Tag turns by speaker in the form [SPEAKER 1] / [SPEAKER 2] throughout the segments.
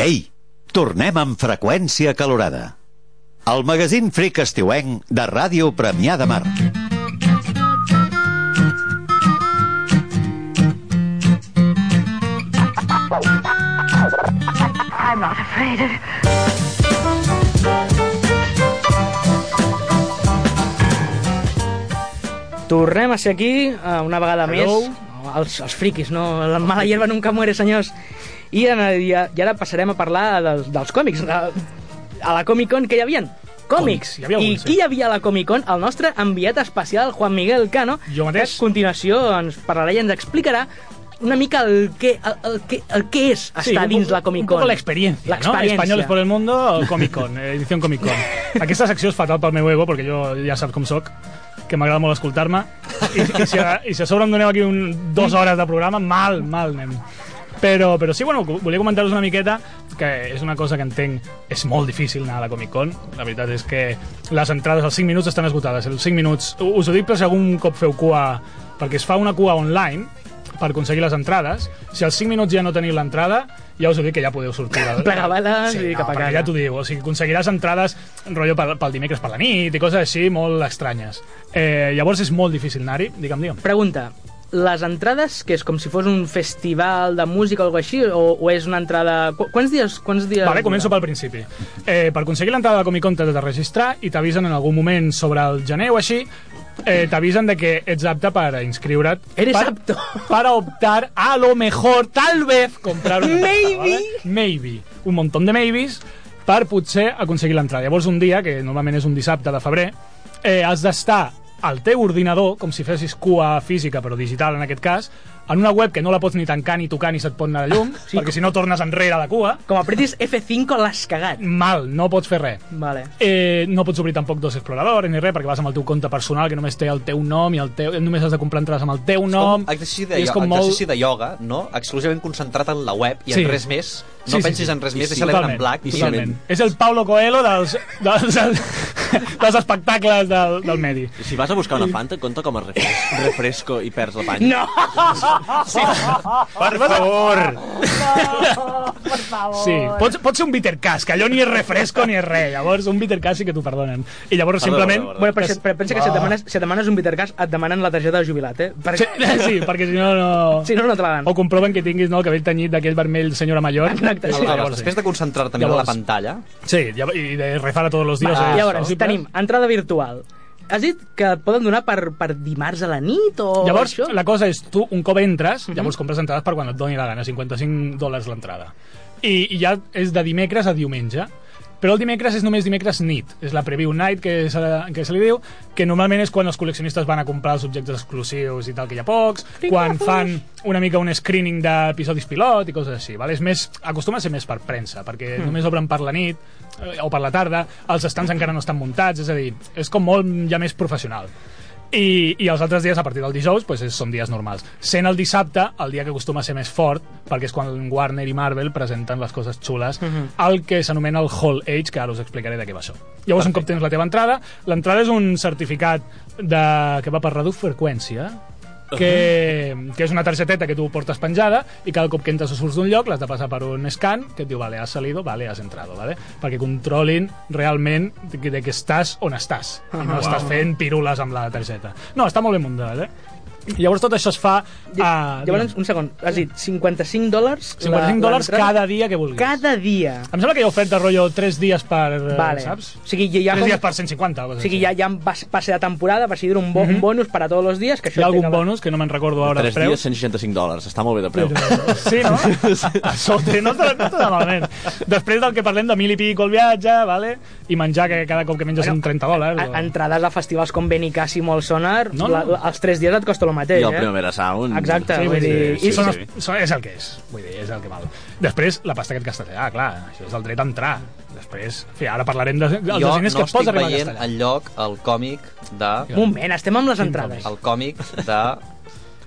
[SPEAKER 1] Ei, tornem amb freqüència calorada. El magazín Fric Estiuenc de Ràdio Premià de Mar.
[SPEAKER 2] I'm not afraid of...
[SPEAKER 3] Tornem a ser aquí, eh, una vegada més. Els, els friquis, no? La mala hierba nunca muere, senyors. I, en, i, i ara passarem a parlar dels, dels còmics. De, a la Comic-Con que hi havia? Còmics.
[SPEAKER 4] Còmics, hi havia
[SPEAKER 3] I
[SPEAKER 4] alguns, sí.
[SPEAKER 3] qui hi havia a la Comic-Con? El nostre enviat especial, Juan Miguel Cano,
[SPEAKER 4] Jo mateix.
[SPEAKER 3] que a continuació ens parlarà i ens explicarà una mica el que, el, el que, el que és estar
[SPEAKER 4] Sí, un poc-
[SPEAKER 3] dins la
[SPEAKER 4] Un
[SPEAKER 3] Comic-Con.
[SPEAKER 4] poco la experiencia, ¿no?
[SPEAKER 3] L'experiència.
[SPEAKER 4] Españoles por el mundo, el Comic Con, eh, edición Comic Con. Aquesta secció és fatal pel meu ego, perquè jo ja saps com sóc, que m'agrada molt escoltar-me, i, i, si a, i si a sobre em doneu aquí un, dues hores de programa, mal, mal anem. Però, però sí, bueno, volia comentar-vos una miqueta que és una cosa que entenc és molt difícil anar a la Comic Con la veritat és que les entrades als 5 minuts estan esgotades els 5 minuts, us ho dic per si algun cop feu cua perquè es fa una cua online per aconseguir les entrades. Si als 5 minuts ja no teniu l'entrada, ja us ho dic que ja podeu sortir. del-
[SPEAKER 3] Plegar bales i cap a
[SPEAKER 4] perquè
[SPEAKER 3] casa.
[SPEAKER 4] Ja t'ho diu, o sigui, aconseguiràs entrades rotllo pel, pel dimecres per la nit i coses així molt estranyes. Eh, llavors és molt difícil anar-hi, digue'm, digue'm.
[SPEAKER 3] Pregunta, les entrades, que és com si fos un festival de música o alguna així, o, o és una entrada... Qu quants dies... Quants dies
[SPEAKER 4] Vale, començo pel principi. Eh, per aconseguir l'entrada de Comic Con t'has de registrar i t'avisen en algun moment sobre el gener o així, eh, t'avisen de que ets apte per inscriure't.
[SPEAKER 3] Eres
[SPEAKER 4] per,
[SPEAKER 3] apto.
[SPEAKER 4] Per optar a lo mejor, tal vez, comprar una entrada,
[SPEAKER 3] Maybe.
[SPEAKER 4] ¿vale? Maybe. Un montón de maybes per potser aconseguir l'entrada. Llavors un dia, que normalment és un dissabte de febrer, eh, has d'estar al teu ordinador, com si fessis cua física, però digital en aquest cas, en una web que no la pots ni tancar ni tocar ni se't pot anar la llum, sí, perquè si no tornes enrere a la cua
[SPEAKER 3] Com apretis F5 l'has cagat.
[SPEAKER 4] mal, no pots fer res.
[SPEAKER 3] Vale.
[SPEAKER 4] Eh, no pots obrir tampoc dos exploradores ni res, perquè vas amb el teu compte personal, que només té el teu nom i el teu... només has de comprar entrades amb el teu nom.
[SPEAKER 5] com exercici de,
[SPEAKER 4] i és com molt-
[SPEAKER 5] exercici de ioga, no? exclusivament concentrat en la web i
[SPEAKER 4] Sí.
[SPEAKER 5] en res més. No
[SPEAKER 4] Sí, sí,
[SPEAKER 5] pensis
[SPEAKER 4] sí.
[SPEAKER 5] en res
[SPEAKER 4] I
[SPEAKER 5] més,
[SPEAKER 4] sí,
[SPEAKER 5] deixa l'Ebre en
[SPEAKER 4] totalment,
[SPEAKER 5] blanc. i
[SPEAKER 4] totalment. És el Paulo Coelho dels, dels, dels, dels espectacles del, del medi.
[SPEAKER 6] Si vas a buscar una Fanta, compta com a refresco, refresco i perds la panya.
[SPEAKER 3] No!
[SPEAKER 4] Per favor! Sí, pot, pot ser un bitter cas, que allò ni és refresco ni és res. Llavors, un bitter cas sí que t'ho perdonen. I llavors,
[SPEAKER 5] Perdó,
[SPEAKER 4] simplement...
[SPEAKER 5] perdó, perdó.
[SPEAKER 3] Bueno, però, si, però pensa que si et, demanes, si et demanes un Bittercast et demanen la targeta de jubilat, eh? Per...
[SPEAKER 4] Sí, Oh, sí, perquè si no, no...
[SPEAKER 3] Si no, no te la dan.
[SPEAKER 4] O comproven que tinguis no, el cabell tenyit d'aquell vermell senyora major.
[SPEAKER 3] Exacte, sí.
[SPEAKER 5] Llavors,
[SPEAKER 4] Llavors,
[SPEAKER 5] després de concentrar-te mirant
[SPEAKER 4] Llavors.
[SPEAKER 5] la pantalla,
[SPEAKER 4] Sí, ja- i de rezar a tots los dioses.
[SPEAKER 3] Va,
[SPEAKER 4] és
[SPEAKER 3] Ah, llavors,
[SPEAKER 4] possible.
[SPEAKER 3] tenim entrada virtual. Has dit que et poden donar per, per dimarts a la nit o
[SPEAKER 4] Llavors,
[SPEAKER 3] això?
[SPEAKER 4] la cosa és, tu un cop entres,
[SPEAKER 3] Mhm.
[SPEAKER 4] llavors compres entrades per quan et doni la gana, 55 dòlars l'entrada. I, I ja és de dimecres a diumenge. Però el dimecres és només dimecres nit, és la preview night que se, que se li diu, que normalment és quan els col·leccionistes van a comprar els objectes exclusius i tal, que hi ha pocs, quan fan una mica un screening d'episodis pilot i coses així. Val? És més, acostuma a ser més per premsa, perquè només obren per la nit eh, o per la tarda, els estants encara no estan muntats, és a dir, és com molt ja més professional. I, i els altres dies, a partir del dijous, pues, és- són dies normals. Sent el dissabte, el dia que acostuma a ser més fort, perquè és quan Warner i Marvel presenten les coses xules, el que s'anomena el Hall Age, que ara us explicaré de què va això. Llavors, un cop tens la teva entrada, l'entrada és un certificat de... que va per radiofreqüència, que, que és una targeteta que tu portes penjada i cada cop que entres o surts d'un lloc l'has de passar per un scan que et diu, vale, has salido, vale, has entrado, vale? Perquè controlin realment de, que- de que estàs on estàs i
[SPEAKER 3] Ah,
[SPEAKER 4] no estàs fent pirules amb la targeta. No, està molt ben muntat, eh? Llavors tot això es fa... ah, A,
[SPEAKER 3] Llavors, un segon. Has dit 55 dòlars... la-
[SPEAKER 4] 55 dòlars
[SPEAKER 3] l'entrada?
[SPEAKER 4] cada dia que vulguis.
[SPEAKER 3] Cada dia.
[SPEAKER 4] Em sembla que hi ha oferta rotllo 3 dies per... eh,
[SPEAKER 3] Vale.
[SPEAKER 4] Saps?
[SPEAKER 3] O sigui, hi ha
[SPEAKER 4] 3
[SPEAKER 3] com-
[SPEAKER 4] dies per 150 o
[SPEAKER 3] O
[SPEAKER 4] coses
[SPEAKER 3] sigui,
[SPEAKER 4] així.
[SPEAKER 3] ja, ja en pas- passe de temporada, va ser un, bo, un bonus per a tots els dies. Que això
[SPEAKER 4] Mhm. Hi ha algun
[SPEAKER 3] explica-
[SPEAKER 4] bonus que no me'n recordo ara els
[SPEAKER 6] 3
[SPEAKER 4] preus.
[SPEAKER 6] dies, 165 dòlars. Està molt bé de preu.
[SPEAKER 4] Sí, no? A sobre, no està, no està malament. Després del que parlem de mil i pico el viatge, vale? i menjar, que cada cop que menges
[SPEAKER 3] Bueno,
[SPEAKER 4] són 30 dòlars.
[SPEAKER 3] A- Entrades a festivals com Benicàssim o el Sonar, no,
[SPEAKER 4] No, no.
[SPEAKER 3] no. La, la, els tres dies et costa el mateix,
[SPEAKER 6] I el
[SPEAKER 3] eh?
[SPEAKER 6] Primavera Sound...
[SPEAKER 3] Exacte,
[SPEAKER 4] Sí, vull
[SPEAKER 3] vull
[SPEAKER 4] dir,
[SPEAKER 3] dir,
[SPEAKER 4] i
[SPEAKER 3] i-
[SPEAKER 4] són els, són, és el que és. Vull dir, és el que val. Després, la pasta que et gastes. Ah, clar, això és el dret a entrar. Després, en fi, ara parlarem de, dels
[SPEAKER 5] jo
[SPEAKER 4] diners
[SPEAKER 5] no
[SPEAKER 4] que et pots
[SPEAKER 5] estic
[SPEAKER 4] arribar a
[SPEAKER 5] veient
[SPEAKER 4] gastar.
[SPEAKER 5] en lloc el còmic de...
[SPEAKER 3] Un moment, estem amb les entrades.
[SPEAKER 5] El còmic de...
[SPEAKER 3] Ah.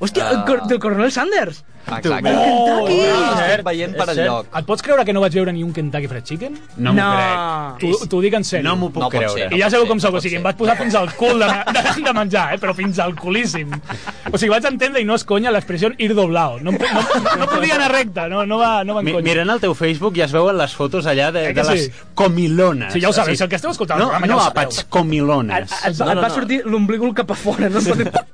[SPEAKER 3] Hòstia, el cor del Coronel Sanders!
[SPEAKER 5] Exacte.
[SPEAKER 4] Oh,
[SPEAKER 5] estem veient per
[SPEAKER 7] És
[SPEAKER 5] enlloc.
[SPEAKER 4] Et pots creure que no vaig veure ni un Kentucky Fried Chicken?
[SPEAKER 7] No, m'ho
[SPEAKER 3] No.
[SPEAKER 7] crec.
[SPEAKER 4] T'ho t'ho dic en sèrio.
[SPEAKER 7] No m'ho puc
[SPEAKER 5] No pot ser.
[SPEAKER 7] creure.
[SPEAKER 4] I ja sabeu com
[SPEAKER 5] no
[SPEAKER 4] sóc,
[SPEAKER 5] pot
[SPEAKER 4] o sigui,
[SPEAKER 5] ser.
[SPEAKER 4] em vaig posar fins al cul de, de, de menjar, eh? però fins al culíssim. O sigui, vaig entendre, i no és conya, l'expressió ir doblado. No, em- no, no, no podia anar recte, no, no va, no va en
[SPEAKER 7] Mi,
[SPEAKER 4] conya.
[SPEAKER 7] mirant el teu Facebook ja es veuen les fotos allà de,
[SPEAKER 4] Eh que
[SPEAKER 7] de les
[SPEAKER 4] sí?
[SPEAKER 7] comilones.
[SPEAKER 4] Sí, ja ho sabeu,
[SPEAKER 7] O sigui,
[SPEAKER 4] si el que esteu escoltant el
[SPEAKER 7] No,
[SPEAKER 4] programa ja
[SPEAKER 7] no
[SPEAKER 4] ho sabeu.
[SPEAKER 7] àpats, comilones.
[SPEAKER 3] Et, et, no, no, et va
[SPEAKER 6] no.
[SPEAKER 3] sortir l'omblígol cap a fora, no?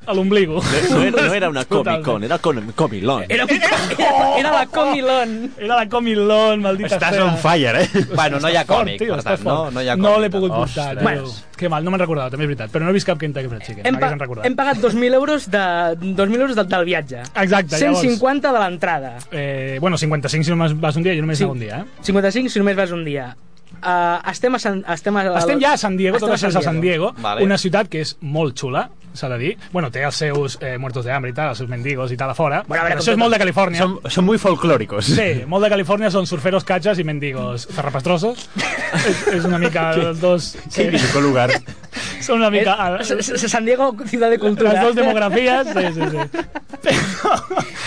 [SPEAKER 4] A l'ombligo.
[SPEAKER 6] No era, no era una
[SPEAKER 4] Totalment.
[SPEAKER 6] Comic-Con, era Con- Comilon.
[SPEAKER 5] Eh,
[SPEAKER 3] Era, era, era la Comilon.
[SPEAKER 4] Era la Comilon, maldita
[SPEAKER 7] Estàs
[SPEAKER 4] sea.
[SPEAKER 7] on fire, eh?
[SPEAKER 5] Bueno, no hi ha
[SPEAKER 4] Fort,
[SPEAKER 5] còmic,
[SPEAKER 4] tio,
[SPEAKER 5] per
[SPEAKER 4] estàs
[SPEAKER 5] tant,
[SPEAKER 4] fort.
[SPEAKER 5] no, no hi ha
[SPEAKER 4] No
[SPEAKER 5] còmic, Oh,
[SPEAKER 4] l'he pogut
[SPEAKER 7] Ostres.
[SPEAKER 4] portar,
[SPEAKER 3] Bueno.
[SPEAKER 4] tio. Que mal, no me'n recordava, també és veritat. Però no he vist cap Kentucky Fried Chicken,
[SPEAKER 3] Hem, pa
[SPEAKER 4] m'haguessin recordat.
[SPEAKER 3] hem pagat 2.000 euros, de, 2.000 euros del, del viatge.
[SPEAKER 4] Exacte,
[SPEAKER 3] 150 de l'entrada.
[SPEAKER 4] Eh, bueno, 55 si només vas un dia, jo només
[SPEAKER 3] Sí.
[SPEAKER 4] sí. un dia, eh?
[SPEAKER 3] 55 si només vas un dia. Uh, estem a San, estem, a,
[SPEAKER 4] Estem ja a San Diego, tot això és a San Diego,
[SPEAKER 5] Vale.
[SPEAKER 4] una ciutat que és molt xula, s'ha de dir. Bueno, té els seus eh, muertos de hambre i tal, els seus mendigos i tal a fora.
[SPEAKER 3] Bueno, a veure,
[SPEAKER 4] però això
[SPEAKER 3] com
[SPEAKER 4] és molt
[SPEAKER 3] tot-
[SPEAKER 4] de Califòrnia.
[SPEAKER 7] Són, són muy folclóricos.
[SPEAKER 4] Sí, molt de Califòrnia són surferos, catxes i mendigos zarrapastrosos. és, és una mica els dos...
[SPEAKER 7] Qué idílico lugar.
[SPEAKER 4] Són una mica...
[SPEAKER 3] Eh, S- S- San Diego, ciudad de cultura.
[SPEAKER 4] Les dues demografies, sí, sí, sí.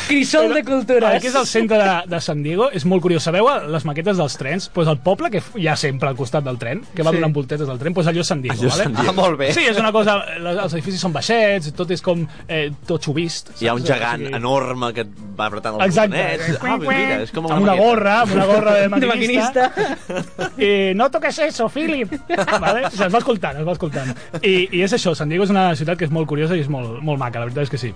[SPEAKER 3] Crisol de cultura.
[SPEAKER 4] El que és el centre de, de San Diego és molt curiós. Sabeu les maquetes dels trens? Pues el poble que f- hi ha sempre al costat del tren, que va
[SPEAKER 3] Sí.
[SPEAKER 4] sí. donant voltetes al tren, pues allò és San Diego.
[SPEAKER 6] Allò és
[SPEAKER 4] vale?
[SPEAKER 6] San Diego.
[SPEAKER 5] Ah, molt bé.
[SPEAKER 4] Sí, és una cosa... les- Els edificis són baixets, tot és com eh, tot xuvist.
[SPEAKER 6] Hi ha un
[SPEAKER 4] saps?
[SPEAKER 6] gegant
[SPEAKER 4] O sigui,
[SPEAKER 6] enorme que et va apretant els
[SPEAKER 4] Exacte.
[SPEAKER 6] botonets. Ah, doncs mira, és com
[SPEAKER 4] amb una
[SPEAKER 6] maqueta.
[SPEAKER 4] gorra, amb una gorra de
[SPEAKER 3] de
[SPEAKER 4] maquinista.
[SPEAKER 3] maquinista.
[SPEAKER 4] I no toques eso, Philip. Vale? Se'ls va escoltant, es va escoltant. I, I és això, San Diego és una ciutat que és molt curiosa i és molt, molt maca, la veritat és que sí.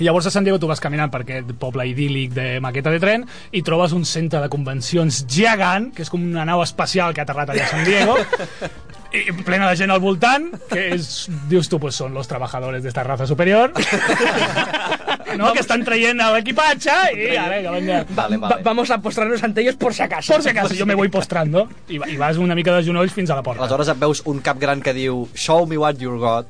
[SPEAKER 4] I llavors a San Diego tu vas caminant per aquest poble idíl·lic de maqueta de tren i trobes un centre de convencions gegant, que és com una nau espacial que ha aterrat allà a San Diego, i plena de gent al voltant, que és, dius tu, pues són los trabajadores d'esta raza superior, no? que estan traient l'equipatge i ah, ara, venga, venga.
[SPEAKER 5] Vale,
[SPEAKER 3] Va-
[SPEAKER 5] vale.
[SPEAKER 3] Vamos a postrarnos ante ellos por si acaso.
[SPEAKER 4] Por si acaso, jo me voy postrando i, va- i vas una mica de genolls fins a la porta.
[SPEAKER 5] Aleshores et veus un cap gran que diu Show me what you're got.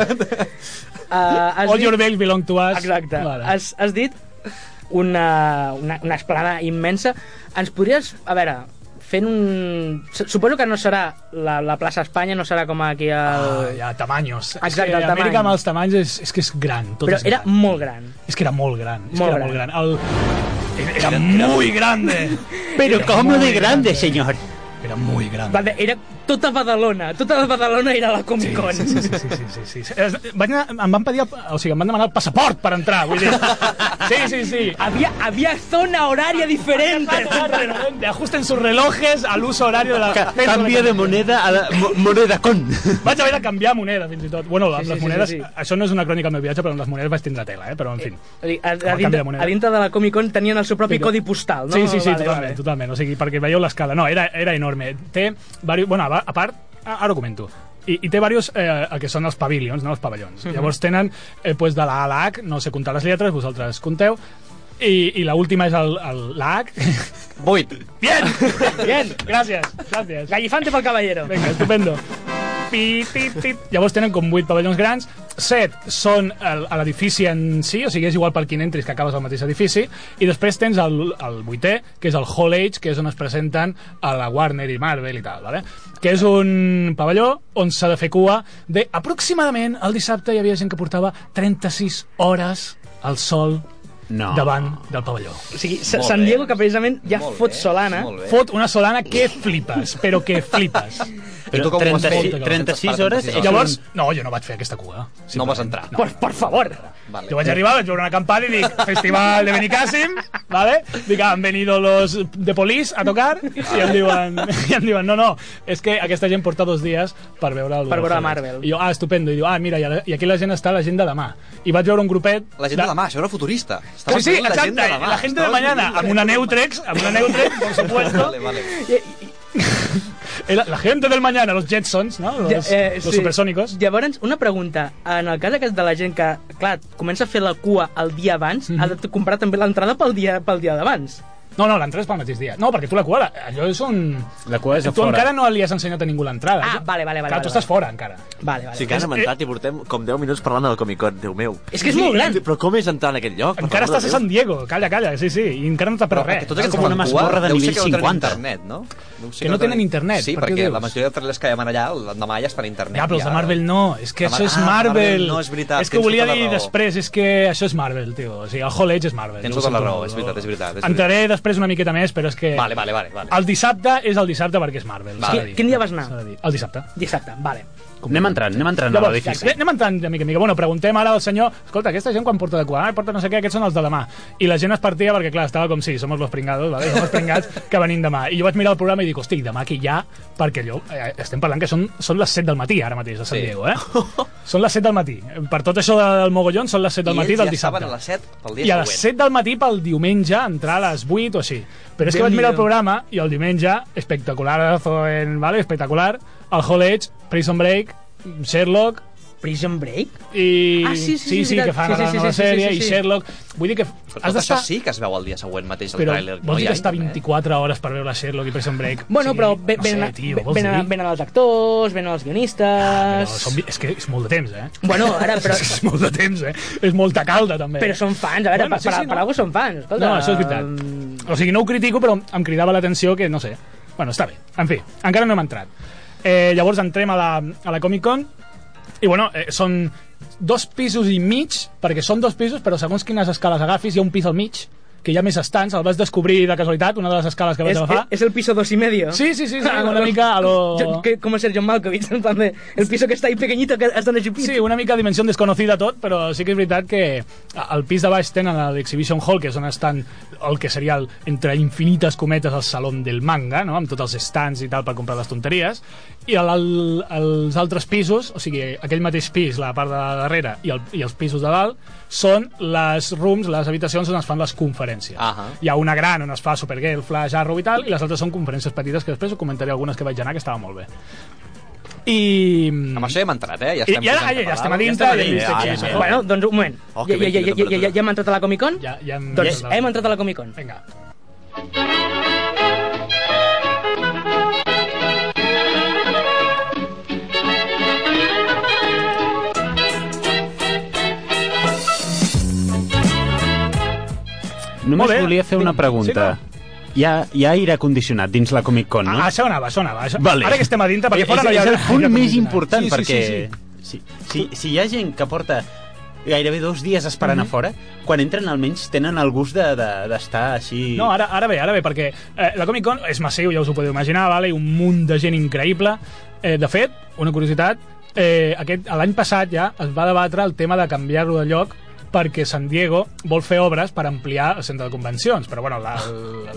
[SPEAKER 3] Uh, has
[SPEAKER 4] All
[SPEAKER 3] dit-
[SPEAKER 4] your bells belong to us.
[SPEAKER 3] Exacte.
[SPEAKER 4] Vale.
[SPEAKER 3] Has, has dit una, una, una esplanada immensa. Ens podries, a veure, fent un... su- Suposo que no serà la, la plaça Espanya, no serà com aquí
[SPEAKER 4] Ah,
[SPEAKER 3] al...
[SPEAKER 4] ja, tamanyos. És
[SPEAKER 3] Exacte,
[SPEAKER 4] que
[SPEAKER 3] el tamany.
[SPEAKER 4] Amèrica amb els tamanys és, és que és gran. Tot
[SPEAKER 3] Però
[SPEAKER 4] és
[SPEAKER 3] era
[SPEAKER 4] gran.
[SPEAKER 3] molt gran.
[SPEAKER 4] És que era molt gran. És
[SPEAKER 3] Molt
[SPEAKER 4] que era molt gran. El... Era, era muy grande.
[SPEAKER 7] Pero cómo de
[SPEAKER 4] muy
[SPEAKER 7] grande, señor.
[SPEAKER 4] Era muy gran.
[SPEAKER 3] Va, Era tota Badalona, tota Badalona era la Comic Con.
[SPEAKER 4] Sí, sí, sí, sí, sí, sí, sí. Es- Vaig anar, em van pedir, el- o sigui, em van demanar el passaport per entrar, vull dir. Sí, sí, sí.
[SPEAKER 3] Había, había zona horaria diferente.
[SPEAKER 4] Ajusten sus relojes al uso horario de la...
[SPEAKER 7] Ca- Cambia de moneda a la, mo- moneda con.
[SPEAKER 4] Vaig haver de canviar moneda, fins i tot. Bueno, amb
[SPEAKER 3] Sí, sí,
[SPEAKER 4] les
[SPEAKER 3] sí,
[SPEAKER 4] monedes...
[SPEAKER 3] sí, sí.
[SPEAKER 4] Això no és una crònica del meu viatge, però amb les modeles vaig tindre tela, eh? Però, en fi.
[SPEAKER 3] O sigui, A, a,
[SPEAKER 4] canvi de
[SPEAKER 3] dintre,
[SPEAKER 4] moneda.
[SPEAKER 3] a dintre de la Comic Con tenien el seu propi
[SPEAKER 4] Però-
[SPEAKER 3] codi postal, no?
[SPEAKER 4] sí, sí, sí,
[SPEAKER 3] Vale,
[SPEAKER 4] totalment,
[SPEAKER 3] vale.
[SPEAKER 4] totalment. O sigui, perquè veieu l'escala. No, era, era enorme. Té... Vari... Bueno, a, a part, a- ara ho comento. I, i té diversos eh, el que són els pavilions, no? els pavellons.
[SPEAKER 3] Mhm.
[SPEAKER 4] Llavors tenen eh, pues, de la A a la H, no sé comptar les lletres, vosaltres compteu, i, i l'última és el, el, la H.
[SPEAKER 5] Vuit.
[SPEAKER 4] Bien! Bien! Gràcies, gràcies.
[SPEAKER 3] Gallifante pel caballero.
[SPEAKER 4] Vinga, estupendo. Pi, pi, pi. Llavors tenen com 8 pavellons grans, 7 són el- a l'edifici en si, o sigui, és igual per quin entris que acabes al mateix edifici, i després tens el, el vuitè, que és el Hall Age, que és on es presenten a la Warner i Marvel i tal, vale? que és un pavelló on s'ha de fer cua de aproximadament el dissabte hi havia gent que portava 36 hores al sol
[SPEAKER 7] No.
[SPEAKER 4] davant del pavelló.
[SPEAKER 3] O sigui, Sa-
[SPEAKER 5] Molt
[SPEAKER 3] San
[SPEAKER 5] bé.
[SPEAKER 3] Diego, que precisament ja
[SPEAKER 5] Molt
[SPEAKER 3] fot
[SPEAKER 5] bé,
[SPEAKER 3] solana.
[SPEAKER 5] molt bé.
[SPEAKER 4] Fot una solana que flipes, però que flipes.
[SPEAKER 5] I tu com ho has fet?
[SPEAKER 7] 36, 36 hores.
[SPEAKER 5] Sí.
[SPEAKER 7] és un-
[SPEAKER 4] Llavors, no, jo no vaig fer aquesta cua.
[SPEAKER 5] No vas entrar.
[SPEAKER 4] No.
[SPEAKER 3] Por, por favor.
[SPEAKER 5] Vale.
[SPEAKER 4] Yo vaig arribar, vaig veure una acampada i dic, festival de Benicàssim, ¿vale? Dic, "Ah, han venido los de Police a tocar i em diuen, i em diuen no, no, és que aquesta gent porta dos dies per veure el
[SPEAKER 3] Per veure
[SPEAKER 4] Hollywood.
[SPEAKER 3] Marvel.
[SPEAKER 4] I jo, ah, estupendo. I diu, ah, mira, i a- i aquí la gent està, la gent de demà. I vaig veure un grupet...
[SPEAKER 5] La gent de demà, això era futurista.
[SPEAKER 4] Sí,
[SPEAKER 5] Estaves
[SPEAKER 4] sí,
[SPEAKER 5] veient la gent
[SPEAKER 4] exacte,
[SPEAKER 5] de demà.
[SPEAKER 4] la gent de
[SPEAKER 5] Estaves
[SPEAKER 4] mañana,
[SPEAKER 5] veient la
[SPEAKER 4] amb
[SPEAKER 5] gent
[SPEAKER 4] una
[SPEAKER 5] de demà.
[SPEAKER 4] Neutrex, amb una Neutrex, por supuesto.
[SPEAKER 5] Vale, vale.
[SPEAKER 4] Era La gente del mañana, los Jetsons, no? Los,
[SPEAKER 3] Eh,
[SPEAKER 4] los supersónicos.
[SPEAKER 3] Llavors, una pregunta. En el cas aquest de la gent que, clar, comença a fer la cua el dia abans, mm
[SPEAKER 4] Mhm.
[SPEAKER 3] -hmm. ha de comprar també l'entrada pel dia, pel dia d'abans.
[SPEAKER 4] No, no, l'entrada és pel mateix dia. No, perquè tu la cua, la- allò és un...
[SPEAKER 7] La cua és a
[SPEAKER 4] Tu
[SPEAKER 7] fora.
[SPEAKER 4] encara no li has ensenyat a ningú l'entrada.
[SPEAKER 3] Ah,
[SPEAKER 4] Jo-
[SPEAKER 3] vale, vale, vale, vale,
[SPEAKER 4] Clar, tu estàs
[SPEAKER 3] vale.
[SPEAKER 4] fora, encara.
[SPEAKER 3] Vale, vale.
[SPEAKER 6] Sí que has inventat i portem com 10 minuts parlant del Comic Con, Déu meu.
[SPEAKER 3] És que és molt gran.
[SPEAKER 6] Però com és entrar en aquest lloc? Per
[SPEAKER 4] Encara
[SPEAKER 6] favor de
[SPEAKER 4] estàs a
[SPEAKER 6] Déu.
[SPEAKER 4] San Diego, calla, calla, sí, sí, i encara no t'ha
[SPEAKER 5] Però
[SPEAKER 4] pres res.
[SPEAKER 5] que tots aquests
[SPEAKER 7] com
[SPEAKER 5] que
[SPEAKER 7] una
[SPEAKER 5] fan cua,
[SPEAKER 7] masmorra de
[SPEAKER 5] deu ser
[SPEAKER 7] nivell
[SPEAKER 5] que no tenen
[SPEAKER 7] 50.
[SPEAKER 5] internet, no? Deu ser
[SPEAKER 4] Que no tenen internet,
[SPEAKER 5] Sí,
[SPEAKER 4] per què
[SPEAKER 5] perquè
[SPEAKER 4] dius?
[SPEAKER 5] la majoria de trailers que hi ha allà, l'endemà ja estan a internet.
[SPEAKER 4] Ja, però els de Marvel no, és que
[SPEAKER 5] Ah,
[SPEAKER 4] això és
[SPEAKER 5] ah,
[SPEAKER 4] Marvel.
[SPEAKER 5] Marvel no, és veritat,
[SPEAKER 4] És que
[SPEAKER 5] tens
[SPEAKER 4] volia
[SPEAKER 5] tota la
[SPEAKER 4] dir
[SPEAKER 5] raó.
[SPEAKER 4] després, és que això és Marvel, tio. O sigui, el Hall Edge és Marvel.
[SPEAKER 5] Tens
[SPEAKER 4] jo ho
[SPEAKER 5] tota la
[SPEAKER 4] sento
[SPEAKER 5] raó,
[SPEAKER 4] molt.
[SPEAKER 5] és veritat, és veritat, és
[SPEAKER 4] Entraré després una miqueta més, però és que...
[SPEAKER 5] Vale, vale, vale. vale.
[SPEAKER 4] El dissabte és el dissabte perquè és Marvel.
[SPEAKER 5] Vale.
[SPEAKER 4] s'ha de dir.
[SPEAKER 3] Quin dia vas anar?
[SPEAKER 4] S'ha de dir. El dissabte.
[SPEAKER 3] Dissabte, vale.
[SPEAKER 7] Anem entrant, anem entrant a
[SPEAKER 4] Llavors,
[SPEAKER 7] l'edifici.
[SPEAKER 4] ja, anem entrant de mica en mica. Bueno, preguntem ara al senyor, escolta, aquesta gent quan porta de cua? Ah, porta no sé què, aquests són els de demà. I la gent es partia perquè, clar, estava com, sí, som los pringados, vale? som els pringats que venim demà. I jo vaig mirar el programa i dic, hosti, demà aquí ja, perquè allò, eh, estem parlant que són, són les 7 del matí ara mateix a San
[SPEAKER 5] Sí.
[SPEAKER 4] Diego, eh? són les 7 del matí. Per tot això del mogollón són les 7 del
[SPEAKER 5] I
[SPEAKER 4] matí
[SPEAKER 5] ells
[SPEAKER 4] del
[SPEAKER 5] ja
[SPEAKER 4] dissabte.
[SPEAKER 5] estaven a les 7 pel dia
[SPEAKER 4] I a les
[SPEAKER 5] següent.
[SPEAKER 4] 7 del matí pel diumenge entrar a les 8 o així. Però és que vaig mirar el programa i el diumenge, espectacular, eh, vale? espectacular, el Hall Edge, Prison Break, Sherlock,
[SPEAKER 3] Prison Break?
[SPEAKER 4] i
[SPEAKER 3] Ah, sí, sí, sí, és
[SPEAKER 4] que
[SPEAKER 3] veritat.
[SPEAKER 4] fan
[SPEAKER 3] Sí, sí,
[SPEAKER 4] ara la
[SPEAKER 3] sí,
[SPEAKER 4] nova
[SPEAKER 3] sí, sí,
[SPEAKER 4] sèrie
[SPEAKER 3] sí, sí.
[SPEAKER 4] i Sherlock vull dir que has
[SPEAKER 5] Però tot això
[SPEAKER 4] d'estar
[SPEAKER 5] sí que es veu el dia següent mateix, el
[SPEAKER 4] però
[SPEAKER 5] tràiler. no
[SPEAKER 4] vols
[SPEAKER 5] hi
[SPEAKER 4] dir
[SPEAKER 5] ha
[SPEAKER 4] que estar
[SPEAKER 5] internet.
[SPEAKER 4] 24 hores per veure Sherlock i Prison Break
[SPEAKER 3] Bueno,
[SPEAKER 4] Sí,
[SPEAKER 3] però ve-
[SPEAKER 4] no
[SPEAKER 3] venen,
[SPEAKER 4] sé, tio,
[SPEAKER 3] ve-
[SPEAKER 4] vols
[SPEAKER 3] venen,
[SPEAKER 4] dir? Ah,
[SPEAKER 3] venen els actors, venen els
[SPEAKER 4] Però
[SPEAKER 3] guionistes...
[SPEAKER 4] són, vi- és que és molt de temps, eh?
[SPEAKER 3] Bueno, ara, però,
[SPEAKER 4] és molt de temps, eh? És molta calda, també. eh?
[SPEAKER 3] però són fans, a veure,
[SPEAKER 4] Bueno,
[SPEAKER 3] bueno,
[SPEAKER 4] sí,
[SPEAKER 3] per,
[SPEAKER 4] sí,
[SPEAKER 3] per,
[SPEAKER 4] no.
[SPEAKER 3] per algú són fans. Escolta, Mm.
[SPEAKER 4] No, això és veritat. O sigui, no ho critico, però em cridava l'atenció que, no sé... Bueno, està bé. En fi, encara no hem entrat. Eh, llavors entrem a la, a la Comic-Con i, bueno, eh, són dos pisos i mig, perquè són dos pisos, però segons quines escales agafis hi ha un pis al mig, que hi ha més estants, el vas descobrir de casualitat, una de les escales que vaig
[SPEAKER 3] És,
[SPEAKER 4] agafar.
[SPEAKER 3] és el piso dos y medio.
[SPEAKER 4] Sí, sí, sí, sí, una mica a lo...
[SPEAKER 3] Yo- que, como Sergio Malkovich, en plan de, el piso que está ahí pequeñito que has donde chupito.
[SPEAKER 4] Sí, una mica dimensió desconocida tot, però sí que és veritat que al pis de baix tenen a l'Exhibition Hall, que és on estan el que seria el, entre infinites cometes el salon del manga, no? amb tots els stands i tal per comprar les tonteries, i a l'al- als altres pisos, o sigui, aquell mateix pis, la part de darrere i, el, i els pisos de dalt, són les rooms, les habitacions on es fan les conferències.
[SPEAKER 5] Ahà.
[SPEAKER 4] Hi ha una gran on es fa Supergirl, Flash, Arrow i tal, i les altres són conferències petites, que després ho comentaré algunes que vaig anar, que estava molt bé. I...
[SPEAKER 5] Amb això ja hem entrat, eh?
[SPEAKER 4] I,
[SPEAKER 5] Ja estem,
[SPEAKER 4] i ara,
[SPEAKER 5] posant
[SPEAKER 4] ai, ja
[SPEAKER 5] català.
[SPEAKER 4] estem a dintre,
[SPEAKER 5] estem
[SPEAKER 4] ja hem vist
[SPEAKER 5] dintre,
[SPEAKER 4] aquí,
[SPEAKER 5] ara
[SPEAKER 4] això.
[SPEAKER 5] mateix.
[SPEAKER 3] Bueno, doncs un moment.
[SPEAKER 5] Ah, Oh, que
[SPEAKER 3] ja, ja,
[SPEAKER 5] ben
[SPEAKER 3] ja,
[SPEAKER 5] quina
[SPEAKER 3] ja, ja, ja,
[SPEAKER 5] temperatura.
[SPEAKER 3] ja hem entrat a la Comic Con?
[SPEAKER 4] Ja, ja hem...
[SPEAKER 3] Doncs hem entrat a la Comic Con.
[SPEAKER 4] Vinga. Molt
[SPEAKER 7] Només
[SPEAKER 4] bé.
[SPEAKER 7] volia fer una pregunta. Hi ha, hi ha aire condicionat dins la Comic Con, no?
[SPEAKER 4] Ah, això anava, això anava. Això...
[SPEAKER 7] Vale. Eh,
[SPEAKER 4] Ara que estem a dintre, perquè
[SPEAKER 7] És-
[SPEAKER 4] fora no hi ha...
[SPEAKER 7] És el
[SPEAKER 4] aire
[SPEAKER 7] punt més
[SPEAKER 4] condicionat.
[SPEAKER 7] important,
[SPEAKER 4] Sí, sí,
[SPEAKER 7] perquè...
[SPEAKER 4] sí, sí.
[SPEAKER 7] Si, si, si hi ha gent que porta gairebé dos dies esperant
[SPEAKER 4] Mhm.
[SPEAKER 7] a fora, quan entren almenys tenen el gust de- de- d'estar de, així...
[SPEAKER 4] No, ara, ara bé, ara bé, perquè eh, la Comic Con és massiu, ja us ho podeu imaginar, vale? un munt de gent increïble. Eh, de fet, una curiositat, eh, aquest l'any passat ja es va debatre el tema de canviar-lo de lloc perquè San Diego vol fer obres per ampliar el centre de convencions, però bueno, la-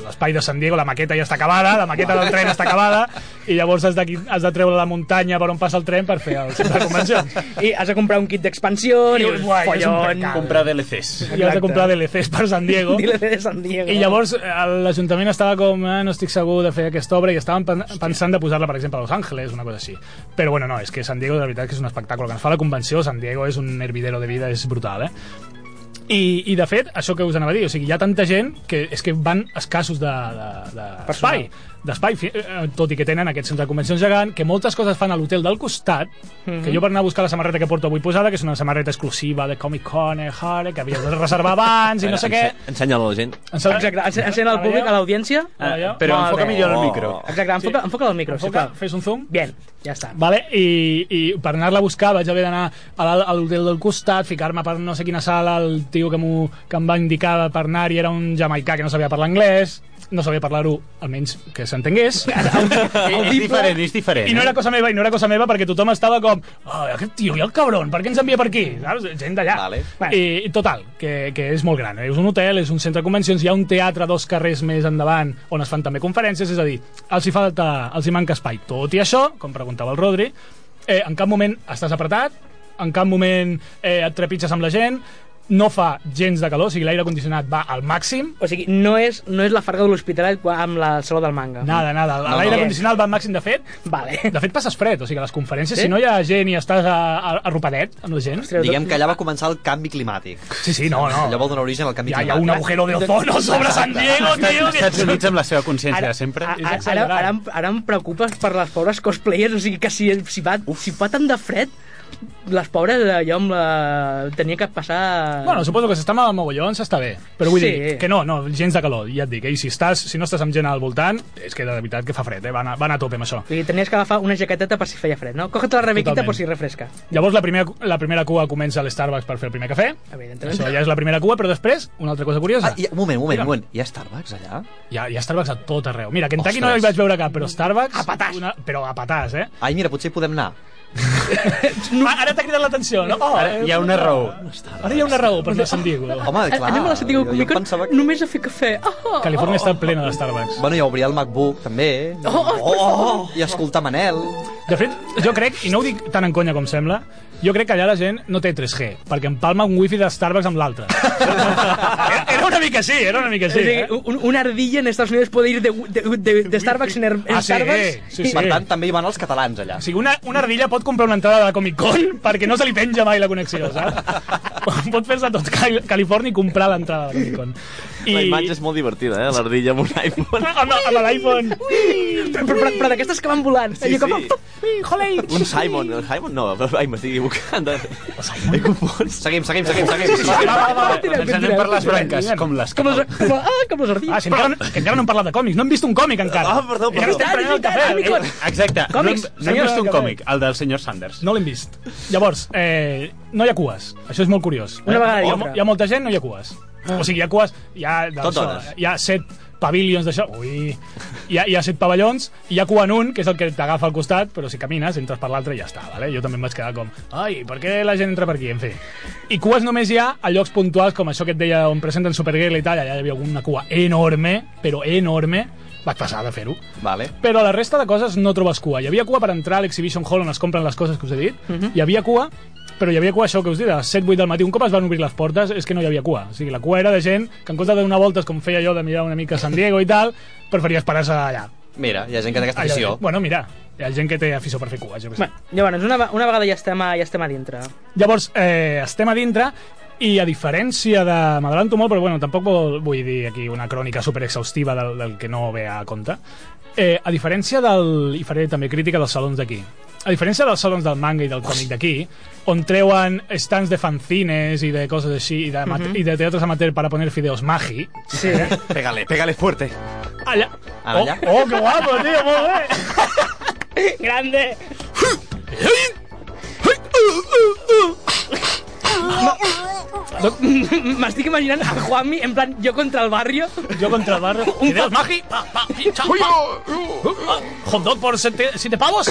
[SPEAKER 4] l'espai de San Diego, la maqueta ja està acabada, la maqueta del tren està acabada, i llavors has de, has de treure la muntanya per on passa el tren per fer el centre de convencions.
[SPEAKER 3] I has de comprar un kit d'expansió, i
[SPEAKER 4] I,
[SPEAKER 3] un
[SPEAKER 4] guai, és un
[SPEAKER 3] follon...
[SPEAKER 4] pecado.
[SPEAKER 7] Comprar DLCs.
[SPEAKER 4] I has de comprar DLCs per San Diego.
[SPEAKER 3] Dile de San Diego.
[SPEAKER 4] I llavors eh, l'Ajuntament estava com, eh, no estic segur de fer aquesta obra i estaven pen pensant de posar-la, per exemple, a Los Angeles, una cosa així. Però bueno, no, és que San Diego de veritat que és un espectacle. Que ens fa la convenció, San Diego és un hervidero de vida, és brutal, eh? I, I, de fet, això que us anava a dir, o sigui, hi ha tanta gent que és que van escassos de- de- de- d'espai, de, d'espai, fi- eh, tot i que tenen aquest centre de convencions gegant, que moltes coses fan a l'hotel del costat, que jo per anar a buscar la samarreta que porto avui posada, que és una samarreta exclusiva de Comic Con, eh, Hare, que havia de reservar abans i no sé què...
[SPEAKER 6] Ensenya- Ensenya-la a la gent.
[SPEAKER 4] Em sembla-
[SPEAKER 3] Exacte, ense- ensenya al públic, a l'audiència.
[SPEAKER 4] Ah, ja.
[SPEAKER 7] Però
[SPEAKER 3] Molt
[SPEAKER 7] enfoca
[SPEAKER 3] bé.
[SPEAKER 7] millor el micro.
[SPEAKER 4] Oh.
[SPEAKER 3] Exacte, enfoca,
[SPEAKER 4] Sí.
[SPEAKER 3] enfoca el micro,
[SPEAKER 4] Enfoca,
[SPEAKER 3] sisplau.
[SPEAKER 4] fes un zoom.
[SPEAKER 3] Bien, ja està.
[SPEAKER 4] Vale, i, i per anar-la a buscar vaig haver d'anar a l'al- a l'hotel del costat, ficar-me per no sé quina sala, el tio que, m'ho- que em va indicar per anar-hi era un jamaicà que no sabia parlar anglès, no sabia parlar-ho, almenys que s'entengués.
[SPEAKER 7] És diferent, és diferent.
[SPEAKER 4] I no
[SPEAKER 7] eh?
[SPEAKER 4] era cosa meva, i no era cosa meva, perquè tothom estava com oh, aquest tio, i el cabron, per què ens envia per aquí? Saps? Gent d'allà.
[SPEAKER 5] Vale.
[SPEAKER 4] I, i total, que, que és molt gran. eh? És un hotel, és un centre de convencions, hi ha un teatre dos carrers més endavant on es fan també conferències, és a dir, els hi, falta, els hi manca espai. Tot i això, com preguntava el Rodri, eh, en cap moment estàs apretat, en cap moment eh, et trepitges amb la gent, no fa gens de calor, o sigui, l'aire condicionat va al màxim,
[SPEAKER 3] O sigui, no és, no és la farga de l'Hospitalet quan- amb la saló del manga.
[SPEAKER 4] nada, nada, l'aire
[SPEAKER 3] no.
[SPEAKER 4] condicionat va al màxim, de fet,
[SPEAKER 3] Vale.
[SPEAKER 4] de fet passes fred, o sigui, a les conferències,
[SPEAKER 3] Sí?
[SPEAKER 4] si no hi ha gent i estàs a, a, arropadet amb la gent...
[SPEAKER 3] Ostres,
[SPEAKER 5] Diguem que allà va començar el canvi climàtic.
[SPEAKER 4] Sí, sí, no,
[SPEAKER 5] Allò
[SPEAKER 4] no.
[SPEAKER 5] vol donar origen al canvi
[SPEAKER 4] Hi ha, hi ha un
[SPEAKER 5] climàtic. Ah,
[SPEAKER 4] agujero de ozono sobre San Diego, tio, que...
[SPEAKER 7] eh? Estats Units amb la seva consciència de sempre.
[SPEAKER 3] a,
[SPEAKER 4] és
[SPEAKER 3] a, ara,
[SPEAKER 4] exagerat.
[SPEAKER 3] ara, em, ara em preocupes per les pobres cosplayers, o sigui que si, si, va, si fa tant de fred, les pobres allò amb la... tenia que passar...
[SPEAKER 4] Bueno, suposo que si estem al mogollon s'està bé, però vull
[SPEAKER 3] Sí.
[SPEAKER 4] dir que no, no, gens de calor, ja et dic, eh? i si, estàs, si no estàs amb gent al voltant, és que de veritat que fa fred, eh? va, anar, va anar a tope amb això.
[SPEAKER 3] O sigui, tenies que agafar una jaqueteta per si feia fred, no? Cógete la rebequita
[SPEAKER 4] Totalment.
[SPEAKER 3] per si refresca.
[SPEAKER 4] Llavors la primera, la primera cua comença a l'Starbucks per fer el primer cafè,
[SPEAKER 3] Evidentment.
[SPEAKER 4] això ja és la primera cua, però després, una altra cosa curiosa,
[SPEAKER 5] Ah, hi ha, un moment, un moment, un moment. Hi ha Starbucks allà?
[SPEAKER 4] hi ha, hi ha Starbucks a tot arreu. Mira, Kentucky
[SPEAKER 5] Ostres.
[SPEAKER 4] no hi vaig veure cap, però Starbucks...
[SPEAKER 3] A patàs.
[SPEAKER 4] Una, però a patàs, eh?
[SPEAKER 5] Ai, mira, potser hi podem anar.
[SPEAKER 4] No. Ara t'ha cridat l'atenció, no? Oh,
[SPEAKER 7] Ara,
[SPEAKER 4] eh,
[SPEAKER 7] hi ha una raó.
[SPEAKER 4] Ara hi ha una raó per anar a San Diego.
[SPEAKER 5] Home, clar.
[SPEAKER 3] Anem a la Santiago
[SPEAKER 5] jo-
[SPEAKER 3] Comic
[SPEAKER 5] Jo
[SPEAKER 3] Con
[SPEAKER 5] pensava que...
[SPEAKER 3] només a fer cafè. Oh, oh.
[SPEAKER 4] Califòrnia està plena de Starbucks.
[SPEAKER 5] Bueno, ja obrir el MacBook, també.
[SPEAKER 3] Oh, oh, per favor.
[SPEAKER 5] I escoltar Manel.
[SPEAKER 4] De fet, jo crec, i no ho dic tan en conya com sembla, jo crec que allà la gent no té 3G, perquè empalma un wifi de Starbucks amb l'altre. Era- Era una mica així, era una mica
[SPEAKER 3] Sí, o
[SPEAKER 4] així.
[SPEAKER 3] sigui,
[SPEAKER 4] Eh?
[SPEAKER 3] un, una ardilla en Estats Units puede ir de, de, de, de Starbucks en, er, en
[SPEAKER 4] Ah, sí,
[SPEAKER 3] Starbucks.
[SPEAKER 4] sí, sí.
[SPEAKER 5] Per tant, també hi van els catalans, allà.
[SPEAKER 4] O sigui, una, una ardilla pot comprar una entrada de la Comic Con perquè no se li penja mai la connexió, saps? Pot fer-se tot Cali Califòrnia i comprar l'entrada de la Comic Con. I...
[SPEAKER 6] La imatge és molt divertida, eh? L'ardilla amb un iPhone.
[SPEAKER 4] Amb, amb l'iPhone.
[SPEAKER 3] Però, però, però d'aquestes que van volant.
[SPEAKER 6] Sí,
[SPEAKER 3] Allò com- "Oh,
[SPEAKER 6] sí. Un Simon. El Simon no, ai, m'estic equivocant. He confós.
[SPEAKER 5] Seguim, seguim, seguim, seguim.
[SPEAKER 4] Va, va, va.
[SPEAKER 3] Tireu,
[SPEAKER 7] Ens anem
[SPEAKER 3] tireu.
[SPEAKER 7] per les branques, com les
[SPEAKER 3] Com les, com, ah, com les
[SPEAKER 4] Ah,
[SPEAKER 3] ardilles.
[SPEAKER 4] si encara, no- que encara no hem parlat de còmics, no hem vist un còmic encara.
[SPEAKER 6] Ah, perdó,
[SPEAKER 4] Encara
[SPEAKER 6] perdó.
[SPEAKER 4] estem prenent el cafè.
[SPEAKER 3] Ah, Comic-Con.
[SPEAKER 7] Exacte.
[SPEAKER 3] Còmics,
[SPEAKER 7] no, hem- no
[SPEAKER 4] senyora,
[SPEAKER 7] hem vist un
[SPEAKER 4] que
[SPEAKER 7] còmic, el del senyor Sanders.
[SPEAKER 4] eh, No l'hem vist. Llavors, eh, no hi ha cues. Això és molt curiós.
[SPEAKER 3] Una vegada i
[SPEAKER 4] hi ha,
[SPEAKER 3] altra.
[SPEAKER 4] hi ha molta gent, no hi ha cues. O sigui, hi ha cues... Hi ha, doncs,
[SPEAKER 5] Tot hores.
[SPEAKER 4] Hi ha set pavilions d'això. Ui... Hi ha, hi ha set pavellons, hi ha cua en un, que és el que t'agafa al costat, però si camines, entres per l'altre i ja està, vale? Jo també em vaig quedar com... Ai, per què la gent entra per aquí? En fi. I cues només hi ha a llocs puntuals, com això que et deia on presenten Supergirl i tal, allà hi havia una cua enorme, però enorme, vaig passar de fer-ho.
[SPEAKER 5] Vale.
[SPEAKER 4] Però a la resta de coses no trobes cua. Hi havia cua per entrar a l'Exhibition Hall on es compren les coses que us he dit. Hi havia cua, però hi havia cua, això que us dic, a les 7-8 del matí. Un cop es van obrir les portes, és que no hi havia cua. O sigui, la cua era de gent que en comptes de donar voltes com feia jo de mirar una mica San Diego i tal, preferia esperar-se allà.
[SPEAKER 5] Mira, hi ha gent que té aquesta
[SPEAKER 4] allà.
[SPEAKER 5] afició.
[SPEAKER 4] Bueno, mira, hi ha gent que té afició per fer cua. Jo què sé.
[SPEAKER 3] Bueno, llavors, una, ve- una vegada ja estem a, ja estem a dintre.
[SPEAKER 4] Llavors, eh, estem a dintre i a diferència de... M'adelanto molt, però bueno, tampoc vol, vull dir aquí una crònica superexhaustiva del, del que no ve a compte. Eh, a diferència del... I faré també crítica dels salons d'aquí. A diferència dels salons del manga i del còmic d'aquí, on treuen stands de fanzines i de coses així, i de, uh -huh. i de teatres amateur para poner fideos magi,
[SPEAKER 3] Sí, eh?
[SPEAKER 6] Pégale, pégale fuerte.
[SPEAKER 4] allà...
[SPEAKER 5] Ara, allà?
[SPEAKER 4] Oh, oh, que guapo, tio, molt bé!
[SPEAKER 3] Grande! M- M'estic imaginant a Juanmi, en plan, jo contra el barrio.
[SPEAKER 4] Yo contra el barrio. Fideos magi, pa, pa, pincha, pa. Hot dog por siete, siete pavos.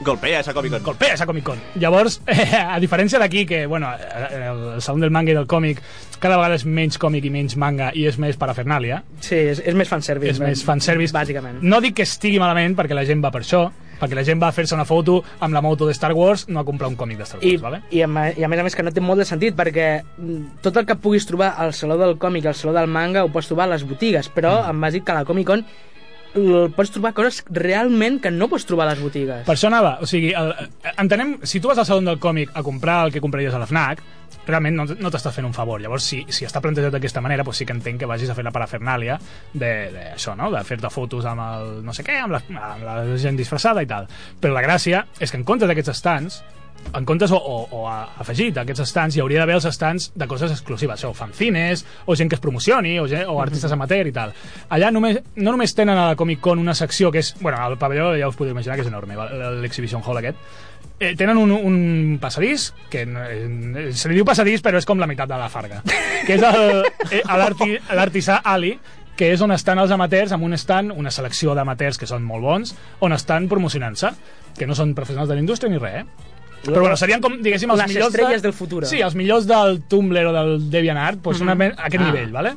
[SPEAKER 6] Golpea esa Comic Con.
[SPEAKER 4] Golpea esa Comic Con. Llavors, eh, a diferència d'aquí, que bueno, eh, el sound del manga i del còmic cada vegada és menys còmic i menys manga i és més parafernàlia,
[SPEAKER 3] Sí, és, és més fanservice.
[SPEAKER 4] eh? és més fanservice.
[SPEAKER 3] Bàsicament.
[SPEAKER 4] No dic que estigui malament perquè la gent va per això, perquè la gent va a fer-se una foto amb la moto de Star Wars, no a comprar un còmic de Star Wars,
[SPEAKER 3] I,
[SPEAKER 4] vale?
[SPEAKER 3] i, a, me- i a més a més que no té molt de sentit perquè mm, tot el que puguis trobar al Saló del Còmic al Saló del Manga ho pots trobar a les botigues però mm. em vas dir que a la Comic Con l- pots trobar coses realment que no pots trobar a les botigues
[SPEAKER 4] Per això anava, o sigui, el, eh, entenem, si tu vas al salon del còmic a comprar el que compraries a la FNAC, realment no, no t'estàs fent un favor. Llavors, si, si està plantejat d'aquesta manera, doncs sí que entenc que vagis a fer la parafernàlia de, de això, no? De fer-te fotos amb el no sé què, amb la, amb la gent disfressada i tal. Però la gràcia és que en comptes d'aquests stands, en comptes o, o, o a, afegit a aquests stands, hi hauria d'haver els stands de coses exclusives, això, fanzines, o gent que es promocioni, o, gent, o artistes amateur i tal. Allà només, no només tenen a la Comic Con una secció que és... Bueno, el pavelló ja us podeu imaginar que és enorme, val? l'Exhibition Hall aquest. Eh, tenen un, un passadís, que no- eh, se li diu passadís, però és com la meitat de la farga, que és el- eh, l'arti- l'artisà Ali, que és on estan els amateurs amb un stand, una selecció d'amateurs que són molt bons, on estan promocionant-se, que no són professionals de la indústria ni res, eh? Però bueno, serien com, diguéssim, els
[SPEAKER 3] Les
[SPEAKER 4] millors...
[SPEAKER 3] estrelles del futur.
[SPEAKER 4] Sí, els millors del Tumblr o del DeviantArt, doncs una men- aquest
[SPEAKER 3] Ah.
[SPEAKER 4] nivell, vale?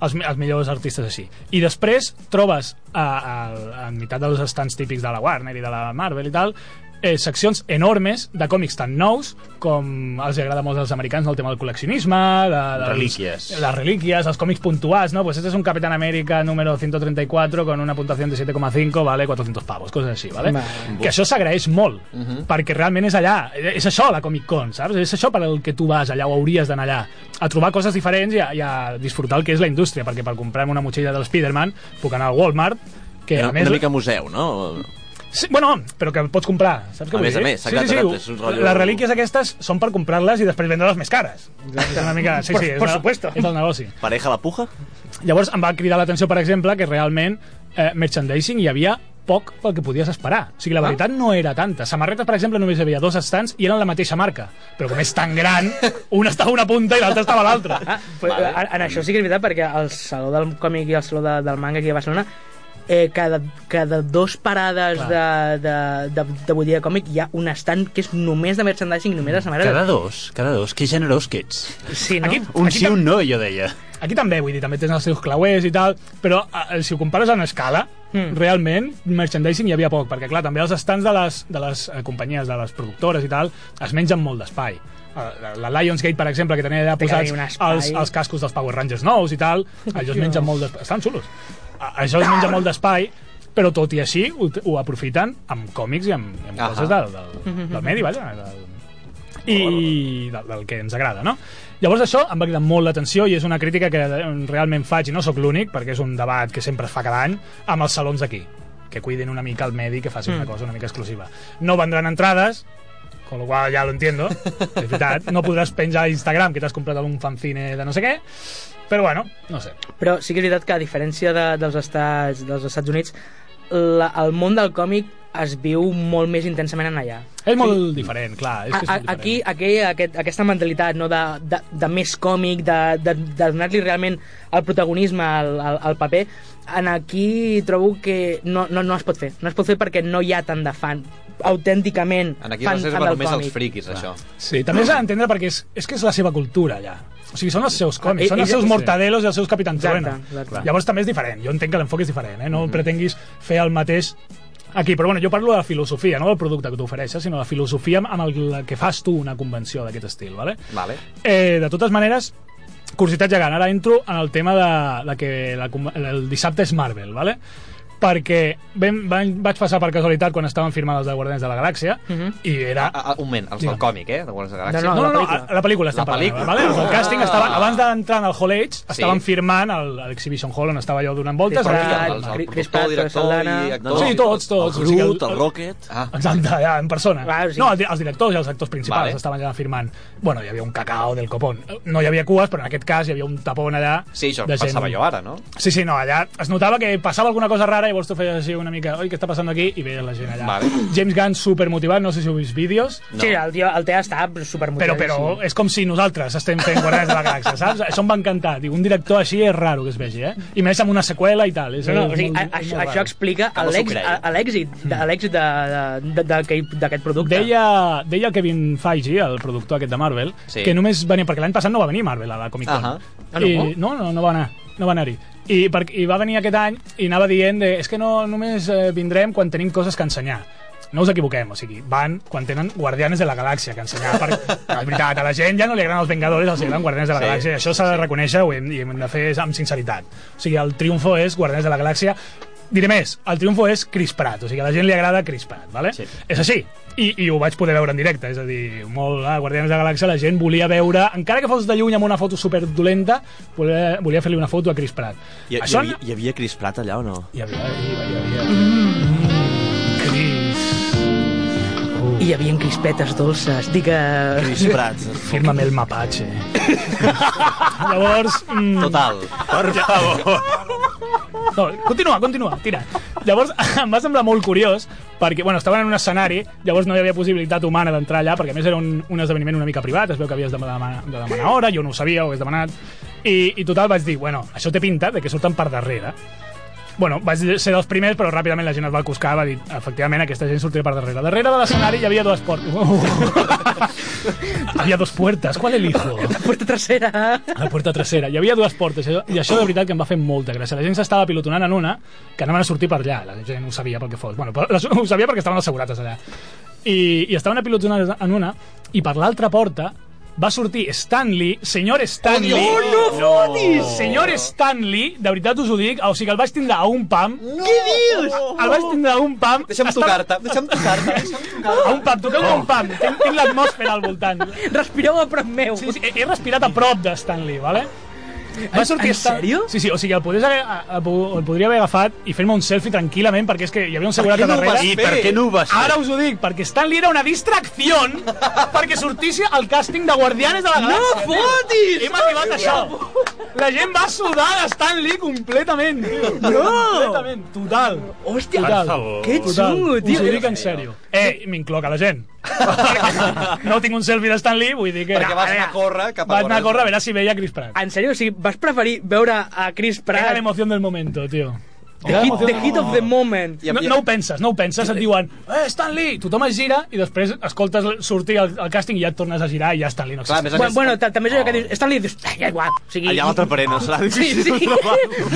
[SPEAKER 4] Els, mi- els millors artistes així. I després trobes, a, a, a, en meitat dels estants típics de la Warner i de la Marvel i tal, eh, seccions enormes de còmics tan nous com els agrada molt als americans el tema del col·leccionisme, de, de
[SPEAKER 7] Relíquies.
[SPEAKER 4] de les relíquies, els còmics puntuals, ¿no? Pues este es un Capitán América número 134 con una puntuación de 7,5, vale 400 pavos, coses així, vale?
[SPEAKER 3] Vale.
[SPEAKER 4] Que això s'agraeix molt, perquè realment és allà, és això la Comic Con, saps? És això per al que tu vas allà o hauries d'anar allà, a trobar coses diferents i a, i a disfrutar el que és la indústria, perquè per comprar una motxilla del Spider-Man puc anar al Walmart, que
[SPEAKER 6] Una,
[SPEAKER 4] a més...
[SPEAKER 6] una mica museu, no?
[SPEAKER 4] Sí, bueno, però que pots comprar, saps
[SPEAKER 6] A
[SPEAKER 4] què vull
[SPEAKER 6] més a
[SPEAKER 4] dir?
[SPEAKER 6] més, exacte, exacte, és un rotllo-
[SPEAKER 4] Les relíquies aquestes són per comprar-les i després vendre-les més cares. Exacte. Una mica, sí,
[SPEAKER 3] Por-
[SPEAKER 4] sí, és
[SPEAKER 3] por
[SPEAKER 4] la-
[SPEAKER 3] supuesto.
[SPEAKER 4] És el negoci.
[SPEAKER 6] Pareja la puja?
[SPEAKER 4] Llavors em va cridar l'atenció, per exemple, que realment eh, merchandising hi havia poc pel que podies esperar. O sigui, la veritat no era tanta. Samarretes, per exemple, només hi havia dos estants i eren la mateixa marca. Però com és tan gran, una estava a una punta i l'altra estava a l'altra.
[SPEAKER 3] Ah, pues, vale. en, en això sí que és veritat, perquè el Saló del Còmic i el Saló de, del Manga aquí a Barcelona eh, cada, cada dos parades de, de, de, de botiga de còmic hi ha un estant que és només de merchandising i només de samarretes.
[SPEAKER 7] Cada dos, cada dos. Que generós que ets.
[SPEAKER 3] Sí, no?
[SPEAKER 4] Aquí,
[SPEAKER 7] Un
[SPEAKER 4] aquí
[SPEAKER 7] sí, un no, jo deia.
[SPEAKER 4] Aquí també, vull dir, també tens els seus clauers i tal, però eh, si ho compares en escala,
[SPEAKER 3] Mm.
[SPEAKER 4] mm. realment merchandising hi havia poc, perquè clar, també els estants de les, de les eh, companyies, de les productores i tal, es mengen molt d'espai. Eh, La Lionsgate, per exemple, que tenia allà
[SPEAKER 3] Té que haver-hi
[SPEAKER 4] posats
[SPEAKER 3] un espai.
[SPEAKER 4] els, els cascos dels Power Rangers nous i tal, allò es mengen molt d'espai. Estan xulos. A- Això es menja molt d'espai, però tot i així ho, ho aprofiten amb còmics i amb, i amb
[SPEAKER 3] Ah.
[SPEAKER 5] Ahà.
[SPEAKER 4] coses del, del, del medi, vaja, del, i del, del que ens agrada, no? Llavors això em va cridar molt l'atenció i és una crítica que eh, realment faig i no sóc l'únic, perquè és un debat que sempre es fa cada any amb els salons d'aquí, que cuiden una mica el medi, que facin
[SPEAKER 3] Mm.
[SPEAKER 4] una cosa una mica exclusiva. No vendran entrades, con lo cual ja lo entiendo, és veritat, no podràs penjar a Instagram que t'has comprat un fanzine de no sé què, però bueno, no sé.
[SPEAKER 3] Però sí que és veritat que, a diferència de, dels, estats, dels Estats Units, la, el món del còmic es viu molt més intensament en allà.
[SPEAKER 4] És molt diferent, clar. És que és
[SPEAKER 3] A, a,
[SPEAKER 4] molt diferent.
[SPEAKER 3] aquí, aquí aquest, aquesta mentalitat no, de, de, de més còmic, de, de, de donar-li realment el protagonisme al, al, al paper, en aquí trobo que no, no, no es pot fer. No es pot fer perquè no hi ha tant de fan autènticament
[SPEAKER 5] En aquí
[SPEAKER 3] fan,
[SPEAKER 5] es
[SPEAKER 3] fan
[SPEAKER 5] reserva
[SPEAKER 3] del
[SPEAKER 5] només als
[SPEAKER 3] còmic.
[SPEAKER 5] friquis, això.
[SPEAKER 4] Sí, també s'ha d'entendre perquè és, és que és la seva cultura allà. O sigui, són els seus còmics,
[SPEAKER 3] Ah,
[SPEAKER 4] són
[SPEAKER 3] i-
[SPEAKER 4] els
[SPEAKER 3] i-
[SPEAKER 4] seus
[SPEAKER 3] sí.
[SPEAKER 4] mortadelos i els seus Capitán
[SPEAKER 3] Exacte,
[SPEAKER 4] Trueno.
[SPEAKER 3] exacte. Mhm.
[SPEAKER 4] Llavors també és diferent. Jo entenc que l'enfoc és diferent, eh? No pretenguis fer el mateix aquí, però bueno, jo parlo de la filosofia, no del producte que t'ofereixes, sinó la filosofia amb- amb el la que fas tu una convenció d'aquest estil, vale?
[SPEAKER 5] Vale.
[SPEAKER 4] Eh, de totes maneres, curiositat gegant, ara entro en el tema de, de que la, com- el dissabte és Marvel, vale? perquè vam, vam, vaig passar per casualitat quan estaven firmant els de Guardians de la Galàxia
[SPEAKER 3] Mhm.
[SPEAKER 4] i era
[SPEAKER 5] Ah, ah, un moment, els del
[SPEAKER 4] Digue'm.
[SPEAKER 5] còmic, eh? De Guardians de la Galàxia.
[SPEAKER 3] No,
[SPEAKER 4] No, no,
[SPEAKER 3] la
[SPEAKER 4] no,
[SPEAKER 3] pel·lícula. Ah.
[SPEAKER 4] a- la pel·lícula estem
[SPEAKER 5] La
[SPEAKER 4] parlant.
[SPEAKER 5] pel·lícula.
[SPEAKER 4] Vale? Els del càsting estaven, abans d'entrar en el Hall H, estaven
[SPEAKER 5] Sí.
[SPEAKER 4] firmant el- a l'Exhibition Hall on estava jo donant voltes.
[SPEAKER 3] Sí,
[SPEAKER 5] Però
[SPEAKER 4] Era-
[SPEAKER 5] qui,
[SPEAKER 3] Pratt,
[SPEAKER 5] els,
[SPEAKER 3] Chris
[SPEAKER 5] el
[SPEAKER 3] Pratt,
[SPEAKER 5] productor, director
[SPEAKER 3] Saldana.
[SPEAKER 5] i actor...
[SPEAKER 4] Sí, tots, tots.
[SPEAKER 6] El
[SPEAKER 4] O sigui, el-
[SPEAKER 6] Groot, el,
[SPEAKER 4] el-
[SPEAKER 6] Rocket...
[SPEAKER 5] Ah,
[SPEAKER 4] Exacte, ja, en persona.
[SPEAKER 3] Clar, sí.
[SPEAKER 4] No, el di- els directors i els actors principals
[SPEAKER 5] Vale.
[SPEAKER 4] estaven allà firmant. Bueno, hi havia un cacao del copón. No hi havia cues, però en aquest cas hi havia un tapón allà.
[SPEAKER 5] sí, això
[SPEAKER 4] de gent-
[SPEAKER 5] pensava jo ara, no?
[SPEAKER 4] Sí, sí, no, allà es notava que passava alguna cosa rara, llavors tu feies així una mica, oi, què està passant aquí? I veies la gent allà.
[SPEAKER 5] Vale.
[SPEAKER 4] James Gunn supermotivat, no sé si heu vist vídeos.
[SPEAKER 3] No. Sí, el, tio, el teu està
[SPEAKER 4] Però,
[SPEAKER 3] supermotivat.
[SPEAKER 4] però eh, és com si nosaltres estem fent Guardians de la Galàxia, saps? Això em va encantar. Dic, un director així és raro que es vegi, eh? I més amb una seqüela i tal. És,
[SPEAKER 3] No, no, o
[SPEAKER 4] és
[SPEAKER 3] sigui,
[SPEAKER 4] molt-
[SPEAKER 3] a,
[SPEAKER 4] és
[SPEAKER 3] això,
[SPEAKER 4] molt
[SPEAKER 3] això
[SPEAKER 4] raro.
[SPEAKER 3] explica
[SPEAKER 5] Que no s'ho
[SPEAKER 3] l'ex-
[SPEAKER 5] cregui.
[SPEAKER 3] a- a l'èxit de- a l'èxit de- de- d'aquell- d'aquest producte.
[SPEAKER 4] Deia, deia el Kevin Feige, el productor aquest de Marvel,
[SPEAKER 5] Sí.
[SPEAKER 4] que només venia... Perquè l'any passat no va venir Marvel a la Comic-Con.
[SPEAKER 5] Ahà.
[SPEAKER 3] Ah,
[SPEAKER 4] I,
[SPEAKER 3] no?
[SPEAKER 4] no, no, no va anar. No va anar-hi. I, per, I va venir aquest any i anava dient de, és que no, només eh, vindrem quan tenim coses que ensenyar. No us equivoquem, o sigui, van quan tenen Guardianes de la Galàxia que ensenyar. Per, és veritat, a la gent ja no li agraden els Vengadores, els agraden Guardianes de la
[SPEAKER 5] Sí.
[SPEAKER 4] Galàxia. i Això s'ha de reconèixer ho hem, i hem de fer amb sinceritat. O sigui, el triomfo és Guardianes de la Galàxia. Diré més, el triomfo és Chris Pratt, o sigui, a la gent li agrada Chris Pratt, ¿vale?
[SPEAKER 7] Sí.
[SPEAKER 4] És així. I, I ho vaig poder veure en directe, és a dir, molt a Guardians de la Galàxia la gent volia veure, encara que fos de lluny amb una foto super dolenta, volia, volia fer-li una foto a Chris Pratt.
[SPEAKER 6] Hi, hi, havia, hi havia Chris Pratt allà o no?
[SPEAKER 4] Hi havia, hi havia, hi havia. Mm. Chris,
[SPEAKER 3] I hi havia crispetes dolces. Digue...
[SPEAKER 6] Chris Pratt.
[SPEAKER 4] firma'm el mapatge. Llavors... Mm,
[SPEAKER 5] Total.
[SPEAKER 6] Per favor.
[SPEAKER 4] No, continua, continua, tira. Llavors, em va semblar molt curiós, perquè, bueno, estaven en un escenari, llavors no hi havia possibilitat humana d'entrar allà, perquè a més era un, un esdeveniment una mica privat, es veu que havies de demanar, de demanar hora, jo no ho sabia, ho hagués demanat, i, i total vaig dir, bueno, això té pinta de que surten per darrere, Bueno, vaig ser dels primers, però ràpidament la gent es va coscar, va dir, efectivament, aquesta gent sortirà per darrere. Darrere de l'escenari hi havia dues portes. hi havia dues puertes, ¿cuál elijo?
[SPEAKER 3] Porta tercera.
[SPEAKER 4] a la puerta trasera. Hi havia dues portes, eh? i això- i això de veritat que em va fer molta gràcia. La gent s'estava pilotonant en una, que anaven a sortir per allà, la gent ho sabia pel que fos. Bueno, però les- ho sabia perquè estaven assegurades allà. I, i estaven a pilotonant en una, i per l'altra porta va sortir Stanley, senyor Stanley.
[SPEAKER 3] Oh, no fotis!
[SPEAKER 4] Senyor Stanley, de veritat us ho dic, o sigui, el vaig tindre a un pam. No! Què dius? El vaig tindre a un pam.
[SPEAKER 6] Deixa'm
[SPEAKER 4] Estava-
[SPEAKER 6] tocar-te, deixa'm tocar-te. deixa'm tocar-te.
[SPEAKER 4] A un pam, toqueu un pam. Tinc, tinc l'atmosfera al voltant.
[SPEAKER 3] Respireu a prop meu.
[SPEAKER 4] Sí, sí, he, he respirat a prop de Stanley, vale? Va sortir
[SPEAKER 3] en
[SPEAKER 4] Stan-
[SPEAKER 3] sèrio?
[SPEAKER 4] Sí, sí, o sigui, el, podés haver, a- a- el podria haver agafat i fer-me un selfie tranquil·lament, perquè és que hi havia un segurat a
[SPEAKER 7] I
[SPEAKER 4] darrere.
[SPEAKER 7] per què no ho vas fer?
[SPEAKER 4] Ara us ho dic, perquè Stanley era una distracció perquè sortís al càsting de Guardianes de la Galàxia. No fotis! Hem arribat a això. La gent va sudar de Stanley completament. tio. Completament, total.
[SPEAKER 3] Hòstia,
[SPEAKER 4] Total.
[SPEAKER 3] que xungo,
[SPEAKER 4] Us ho
[SPEAKER 3] tio.
[SPEAKER 4] dic en sèrio. Eh, m'incloc a la gent. no tinc un selfie de Stan Lee, vull dir que...
[SPEAKER 6] Perquè vas anar a córrer cap a
[SPEAKER 4] Vaig anar a
[SPEAKER 6] Gordes.
[SPEAKER 4] córrer a veure si veia Chris Pratt.
[SPEAKER 3] En sèrio, o sigui, vas preferir veure a Chris
[SPEAKER 4] Era
[SPEAKER 3] Pratt,
[SPEAKER 4] l'emoció del momento, tio.
[SPEAKER 3] the hit, the hit of the moment.
[SPEAKER 6] I-
[SPEAKER 4] No, no ho penses, no ho penses, et diuen eh, Stan Lee, tothom es gira i després escoltes sortir al, al càsting i ja et tornes a girar i ja Stan Lee no
[SPEAKER 6] Clar, a
[SPEAKER 4] existeix.
[SPEAKER 6] més,
[SPEAKER 3] Bueno,
[SPEAKER 6] aquest-
[SPEAKER 3] bueno ta- també és allò que dius, Stanley, dius, "Ah, ja igual. O sigui,
[SPEAKER 6] Allà l'atraparé, no serà
[SPEAKER 3] Sí,
[SPEAKER 6] difícil.
[SPEAKER 3] sí.